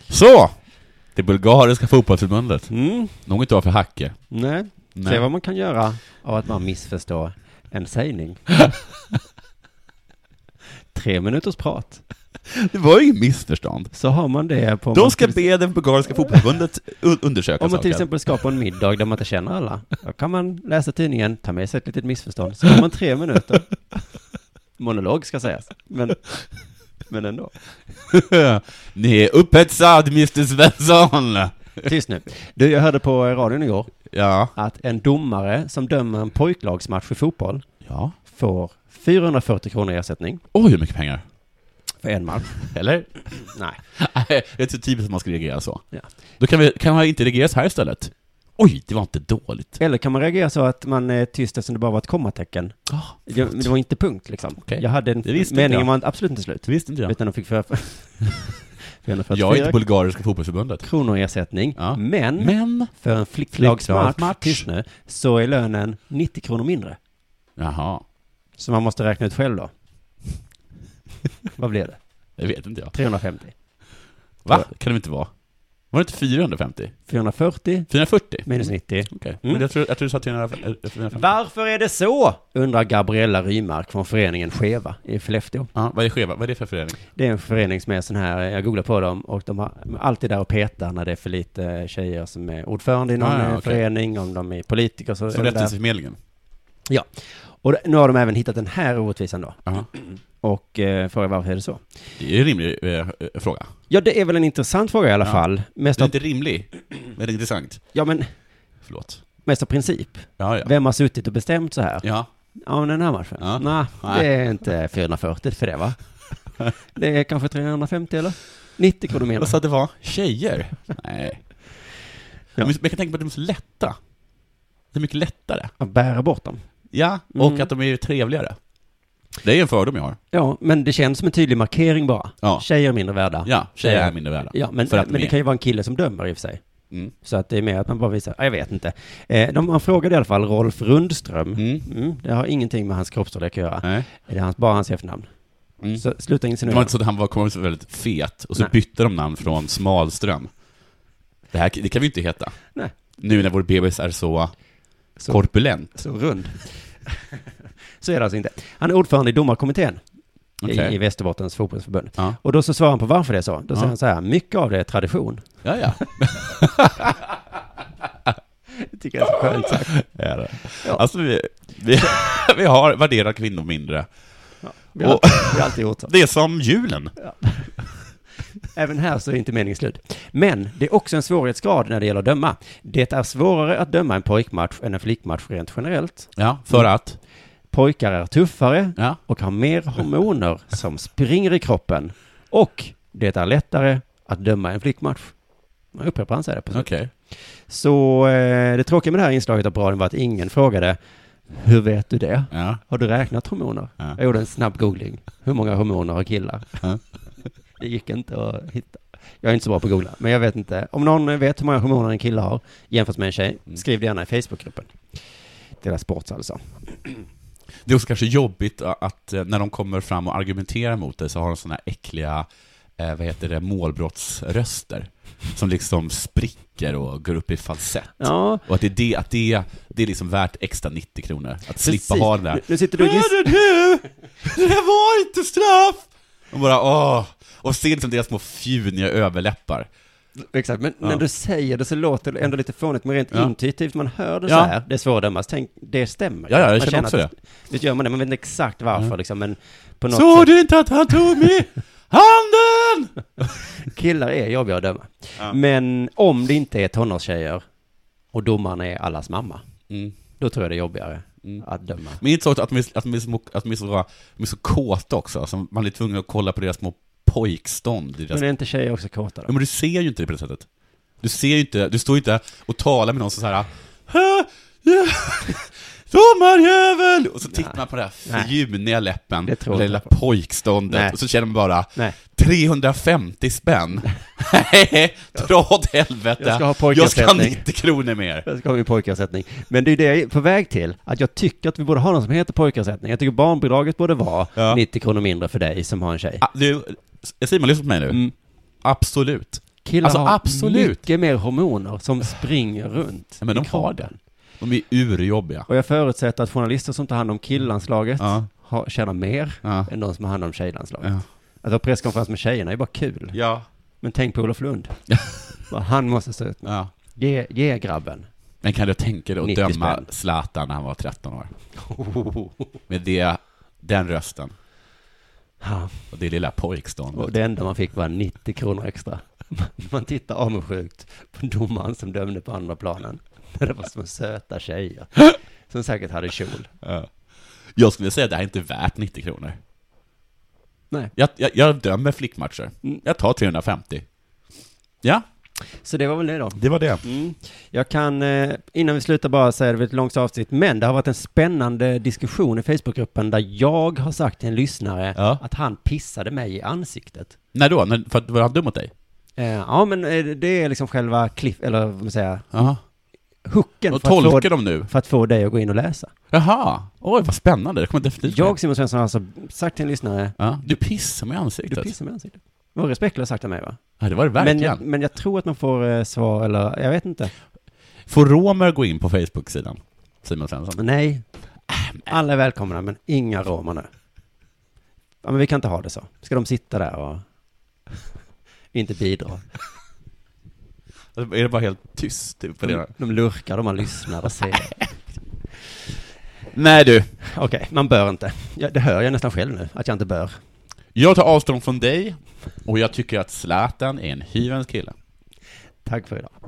[SPEAKER 4] Så! Det bulgariska fotbollsförbundet.
[SPEAKER 3] Mm,
[SPEAKER 4] Något inte var för hacke.
[SPEAKER 3] nej.
[SPEAKER 4] Nej.
[SPEAKER 3] Se vad man kan göra av att man missförstår en sägning.
[SPEAKER 4] [laughs]
[SPEAKER 3] Tre minuters prat.
[SPEAKER 4] Det var ju inget missförstånd.
[SPEAKER 3] Så har man det på... om man
[SPEAKER 4] De ska
[SPEAKER 3] till-
[SPEAKER 4] be det bulgariska fotbollsförbundet un- undersöka
[SPEAKER 3] Om man till
[SPEAKER 4] saken.
[SPEAKER 3] exempel ska på en middag där man inte känner alla, då kan man läsa tidningen, ta med sig ett litet missförstånd, så har man tre minuter. Monolog ska sägas, men, men ändå.
[SPEAKER 4] [laughs] Ni är upphetsad, Mr Svensson!
[SPEAKER 3] Tyst nu. Du, jag hörde på radion igår
[SPEAKER 4] Ja.
[SPEAKER 3] att en domare som dömer en pojklagsmatch i fotboll
[SPEAKER 4] Ja.
[SPEAKER 3] får 440 kronor i ersättning
[SPEAKER 4] Oj, hur mycket pengar.
[SPEAKER 3] för en match.
[SPEAKER 4] Eller?
[SPEAKER 3] Nej.
[SPEAKER 4] Nej, det är så typiskt att man ska reagera så.
[SPEAKER 3] Ja.
[SPEAKER 4] Då kan, vi, kan man inte reagera så här istället. Oj, det var inte dåligt.
[SPEAKER 3] Eller kan man reagera så att man är tyst eftersom det bara var ett kommatecken?
[SPEAKER 4] Ah,
[SPEAKER 3] Det,
[SPEAKER 4] förlåt.
[SPEAKER 3] det var inte punkt liksom.
[SPEAKER 4] Okej.
[SPEAKER 3] Jag hade en,
[SPEAKER 4] Det visste inte
[SPEAKER 3] meningen
[SPEAKER 4] jag.
[SPEAKER 3] var absolut inte slut.
[SPEAKER 4] Det visste inte jag.
[SPEAKER 3] Utan de fick
[SPEAKER 4] [laughs]
[SPEAKER 3] för, 444
[SPEAKER 4] Jag är inte Bulgariska fotbollsförbundet.
[SPEAKER 3] kronor i ersättning.
[SPEAKER 4] Ja.
[SPEAKER 3] Men,
[SPEAKER 4] Men...
[SPEAKER 3] för en flicklagsmatch,
[SPEAKER 4] Flicklagsmatch.
[SPEAKER 3] tyst nu, så är lönen 90 kronor mindre.
[SPEAKER 4] Jaha.
[SPEAKER 3] Så man måste räkna ut själv då. [laughs] Vad blev det?
[SPEAKER 4] Det vet inte jag.
[SPEAKER 3] 350.
[SPEAKER 4] Va? Kan det inte vara? Var det inte 450?
[SPEAKER 3] 440
[SPEAKER 4] 440?
[SPEAKER 3] minus 90.
[SPEAKER 4] Okej.
[SPEAKER 3] Mm.
[SPEAKER 4] Men jag tror, jag tror du sa 450.
[SPEAKER 3] Varför är det så? Undrar Gabriella Rymark från föreningen Skeva i Skellefteå.
[SPEAKER 4] Ja, vad är skeva? Vad är det för förening?
[SPEAKER 3] Det är en förening som är sån här, jag googlar på dem och de har de är alltid där och petar när det är för lite tjejer som är ordförande i någon
[SPEAKER 4] Ah, ja,
[SPEAKER 3] eh,
[SPEAKER 4] okej.
[SPEAKER 3] förening, om de är politiker så
[SPEAKER 4] Som
[SPEAKER 3] är de där.
[SPEAKER 4] Rättviseförmedlingen?
[SPEAKER 3] Och nu har de även hittat den här orättvisan då.
[SPEAKER 4] Ja.
[SPEAKER 3] Och eh, frågar varför är det så?
[SPEAKER 4] Det är en rimlig eh, eh, fråga.
[SPEAKER 3] Ja, det är väl en intressant fråga i alla
[SPEAKER 4] Ja.
[SPEAKER 3] fall. Mest
[SPEAKER 4] Det är
[SPEAKER 3] av,
[SPEAKER 4] inte rimlig, men det är intressant.
[SPEAKER 3] ja, men
[SPEAKER 4] Förlåt.
[SPEAKER 3] mest av princip.
[SPEAKER 4] Ja, ja.
[SPEAKER 3] Vem har suttit och bestämt så här?
[SPEAKER 4] Ja,
[SPEAKER 3] Ja, men den här matchen?
[SPEAKER 4] Ja.
[SPEAKER 3] Nej,
[SPEAKER 4] Nej.
[SPEAKER 3] det är inte 440 för det
[SPEAKER 4] [laughs]
[SPEAKER 3] va? Det är kanske 350 eller? 90 kronor mer.
[SPEAKER 4] jag sa att det var [laughs] tjejer. Nej.
[SPEAKER 3] Ja.
[SPEAKER 4] Men jag kan tänka på att de är så lätta. Det är mycket lättare.
[SPEAKER 3] Att bära bort dem.
[SPEAKER 4] Ja,
[SPEAKER 3] Mm.
[SPEAKER 4] och att de är trevligare. Det är en fördom jag har.
[SPEAKER 3] Ja, men det känns som en tydlig markering bara.
[SPEAKER 4] Ja.
[SPEAKER 3] Tjejer är mindre värda.
[SPEAKER 4] Ja, tjejer
[SPEAKER 3] Ja.
[SPEAKER 4] är mindre värda.
[SPEAKER 3] Ja, men,
[SPEAKER 4] För att de
[SPEAKER 3] men det
[SPEAKER 4] är.
[SPEAKER 3] kan ju vara en kille som dömer i och för sig.
[SPEAKER 4] Mm.
[SPEAKER 3] Så att det är mer att man bara visar, ja, jag vet inte. Eh, de, man frågade i alla fall Rolf Rundström.
[SPEAKER 4] Mm.
[SPEAKER 3] Mm, det har ingenting med hans kroppsstorlek att göra.
[SPEAKER 4] Nej.
[SPEAKER 3] Det är hans, bara hans efternamn.
[SPEAKER 4] Mm.
[SPEAKER 3] Så sluta
[SPEAKER 4] Det var
[SPEAKER 3] insinuera.
[SPEAKER 4] inte så att han var, kom så väldigt fet, och så
[SPEAKER 3] Nej.
[SPEAKER 4] bytte de namn från Smalström. Det, här, det kan vi inte heta.
[SPEAKER 3] Nej.
[SPEAKER 4] Nu när vår bebis är så,
[SPEAKER 3] Så-
[SPEAKER 4] korpulent.
[SPEAKER 3] Så rund. så är det alltså inte. Han är ordförande i domarkommittén
[SPEAKER 4] Okej.
[SPEAKER 3] i, i Västerbottens fotbollsförbund.
[SPEAKER 4] Ja.
[SPEAKER 3] Och då så svarar han på varför det är så. Då säger
[SPEAKER 4] Ja.
[SPEAKER 3] han så här, mycket av det är tradition.
[SPEAKER 4] Ja, ja.
[SPEAKER 3] Det tycker jag är så skönt sagt.
[SPEAKER 4] [laughs] Är det.
[SPEAKER 3] Ja.
[SPEAKER 4] Alltså, vi, vi, [laughs] vi har värderat kvinnor mindre.
[SPEAKER 3] Vi har,
[SPEAKER 4] Och-
[SPEAKER 3] vi har alltid gjort så.
[SPEAKER 4] Det är som julen.
[SPEAKER 3] Även här så är inte meningen slut. Men det är också en svårighetsgrad när det gäller att döma. Det är svårare att döma en pojkmatch än en flickmatch rent generellt.
[SPEAKER 4] Ja, för att.
[SPEAKER 3] Pojkar är tuffare
[SPEAKER 4] Ja.
[SPEAKER 3] och har mer hormoner som springer i kroppen. Och det är lättare att döma en flickmatch. Man upprepar han säger det på slutet.
[SPEAKER 4] Okej.
[SPEAKER 3] Så eh, det tråkiga med det här inslaget av radion var att ingen frågade Hur vet du det?
[SPEAKER 4] Ja.
[SPEAKER 3] Har du räknat hormoner?
[SPEAKER 4] Ja.
[SPEAKER 3] Jag gjorde en snabb googling. Hur många hormoner har killar?
[SPEAKER 4] Ja.
[SPEAKER 3] [laughs] Det gick inte att hitta. Jag är inte så bra på att googla, men jag vet inte. Om någon vet hur många hormoner en kille har jämfört med en tjej,
[SPEAKER 4] Mm.
[SPEAKER 3] skriv det gärna i Facebookgruppen. Det där sports alltså.
[SPEAKER 4] Det är också kanske jobbigt a- att eh, när de kommer fram och argumenterar mot dig så har de såna här äckliga, eh, vad heter det, målbrottsröster. Som liksom spricker och går upp i falsett.
[SPEAKER 3] Ja,
[SPEAKER 4] Och att det är det, att det, det är liksom värt extra 90 kronor. Att slippa
[SPEAKER 3] precis.
[SPEAKER 4] ha den
[SPEAKER 3] Nu,
[SPEAKER 4] där.
[SPEAKER 3] nu sitter du och gissar.
[SPEAKER 4] Hörde du? Det här var inte straff! Och bara åh. Och se liksom deras små fjuniga överläppar.
[SPEAKER 3] Exakt, men när
[SPEAKER 4] Ja.
[SPEAKER 3] du säger det så låter det ändå lite fånigt, men rent
[SPEAKER 4] Ja.
[SPEAKER 3] intuitivt, man hör det så
[SPEAKER 4] Ja.
[SPEAKER 3] här, det är svårdömas, tänk, det stämmer.
[SPEAKER 4] Ja, ja, jag
[SPEAKER 3] Man
[SPEAKER 4] känner också
[SPEAKER 3] att Det gör man det, man vet inte exakt varför liksom, men på något
[SPEAKER 4] Såg
[SPEAKER 3] sätt,
[SPEAKER 4] du inte att han tog mig? Handen!
[SPEAKER 3] killar är jobbiga att döma. Men om det inte är tonårstjejer och domaren är allas mamma,
[SPEAKER 4] Mm.
[SPEAKER 3] då tror jag det är jobbigare
[SPEAKER 4] Mm.
[SPEAKER 3] att döma.
[SPEAKER 4] Men inte så att de är, att de är, så, att de är, så, de är så kåta också, så man är tvungen att kolla på deras små pojkstånd. I deras...
[SPEAKER 3] Men är inte tjejer också kåta
[SPEAKER 4] Ja,
[SPEAKER 3] då?
[SPEAKER 4] men du ser ju inte det på det sättet. Du ser ju inte, du står ju inte och talar med någon som så här "Hä? Ja. [laughs] Domarjävel! Och så tittar man på den här
[SPEAKER 3] Nej.
[SPEAKER 4] fjuniga läppen,
[SPEAKER 3] Det tror
[SPEAKER 4] det
[SPEAKER 3] jag
[SPEAKER 4] lilla
[SPEAKER 3] inte på.
[SPEAKER 4] pojkståndet,
[SPEAKER 3] Nej.
[SPEAKER 4] och så känner man bara
[SPEAKER 3] Nej. [laughs]
[SPEAKER 4] 350 spänn! Nej, dra åt helvete!
[SPEAKER 3] Jag ska ha
[SPEAKER 4] jag ska ha
[SPEAKER 3] pojkersättning.
[SPEAKER 4] 90 kronor mer!
[SPEAKER 3] [laughs] Jag ska ha min pojkersättning. Men det är ju det jag är på väg till, att jag tycker att vi borde ha något som heter pojkersättning. Jag tycker barnbidraget borde vara
[SPEAKER 4] Ja.
[SPEAKER 3] 90 kronor mindre för dig som har en tjej.
[SPEAKER 4] Ah, Du, Simon, lyssna på mig nu.
[SPEAKER 3] Mm.
[SPEAKER 4] Absolut.
[SPEAKER 3] Killar
[SPEAKER 4] Alltså,
[SPEAKER 3] har
[SPEAKER 4] absolut.
[SPEAKER 3] mycket mer hormoner som springer runt.
[SPEAKER 4] Ja, men
[SPEAKER 3] i
[SPEAKER 4] de har
[SPEAKER 3] kroppen.
[SPEAKER 4] De är urjobbiga.
[SPEAKER 3] Och jag förutsätter att journalister som tar hand om killanslaget
[SPEAKER 4] Ja.
[SPEAKER 3] har, tjänar mer
[SPEAKER 4] Ja.
[SPEAKER 3] än de som har hand om tjejlandslaget.
[SPEAKER 4] Ja.
[SPEAKER 3] Att ha presskonferens med tjejerna är bara kul.
[SPEAKER 4] Ja.
[SPEAKER 3] Men tänk på Olof
[SPEAKER 4] [laughs]
[SPEAKER 3] Lund. Vad Han måste stå ut med.
[SPEAKER 4] ja.
[SPEAKER 3] Ge, ge grabben.
[SPEAKER 4] Men kan du tänka dig att
[SPEAKER 3] 90
[SPEAKER 4] döma
[SPEAKER 3] spänn.
[SPEAKER 4] Zlatan när han var
[SPEAKER 3] [laughs]
[SPEAKER 4] 13 år? Med det, den rösten
[SPEAKER 3] Ja,
[SPEAKER 4] och det lilla pojkståndet.
[SPEAKER 3] och det enda man fick var [laughs] 90 kronor extra. Man tittar avundsjukt på domaren som dömde på andra planen. [laughs] det var små söta
[SPEAKER 4] [laughs]
[SPEAKER 3] tjejer. Som säkert hade kjol.
[SPEAKER 4] Ja. Jag skulle säga att det här är inte värt 90 kronor.
[SPEAKER 3] Nej.
[SPEAKER 4] Jag, jag, jag dömer flickmatcher.
[SPEAKER 3] Mm.
[SPEAKER 4] Jag tar 350. Ja,
[SPEAKER 3] Så det var väl det då.
[SPEAKER 4] det var det.
[SPEAKER 3] Mm. Jag kan, eh, innan vi slutar bara säga, det var ett långt avsnitt, men det har varit en spännande diskussion i Facebookgruppen där jag har sagt till en lyssnare
[SPEAKER 4] Ja.
[SPEAKER 3] att han pissade mig i ansiktet.
[SPEAKER 4] När då? När, för att var han dum mot dig?
[SPEAKER 3] Eh, ja, men eh, det är liksom själva cliff, eller vad man säger,
[SPEAKER 4] Jaha.
[SPEAKER 3] hooken
[SPEAKER 4] Vad
[SPEAKER 3] för att,
[SPEAKER 4] tolkar
[SPEAKER 3] få,
[SPEAKER 4] de nu?
[SPEAKER 3] för att få dig att gå in och läsa.
[SPEAKER 4] Jaha. Oj, vad spännande. Det kommer definitivt
[SPEAKER 3] Jag, Simon Svensson, har alltså sagt till en lyssnare,
[SPEAKER 4] ja. Du pissar mig i
[SPEAKER 3] du
[SPEAKER 4] ansiktet.
[SPEAKER 3] pissar mig i ansiktet. Det var respektlöst sagt av mig va?
[SPEAKER 4] ja, det var det
[SPEAKER 3] Men
[SPEAKER 4] verkligen.
[SPEAKER 3] jag, men jag tror att man får eh, svar, eller jag vet inte.
[SPEAKER 4] Får romer gå in på Facebook-sidan? Simon Svensson.
[SPEAKER 3] Nej, alla är välkomna, men inga romer nu. Ja, men vi kan inte ha det så. Ska de sitta där och [laughs] inte bidra?
[SPEAKER 4] Alltså, Är det bara helt tyst typ, på
[SPEAKER 3] De,
[SPEAKER 4] det?
[SPEAKER 3] de lurkar, de man lyssnar och ser.
[SPEAKER 4] Nej du,
[SPEAKER 3] Okej, man bör inte. Ja, det hör jag nästan själv nu, att jag inte bör.
[SPEAKER 4] jag tar avstånd från dig och jag tycker att Zlatan är en hyvens kille.
[SPEAKER 3] Tack för idag.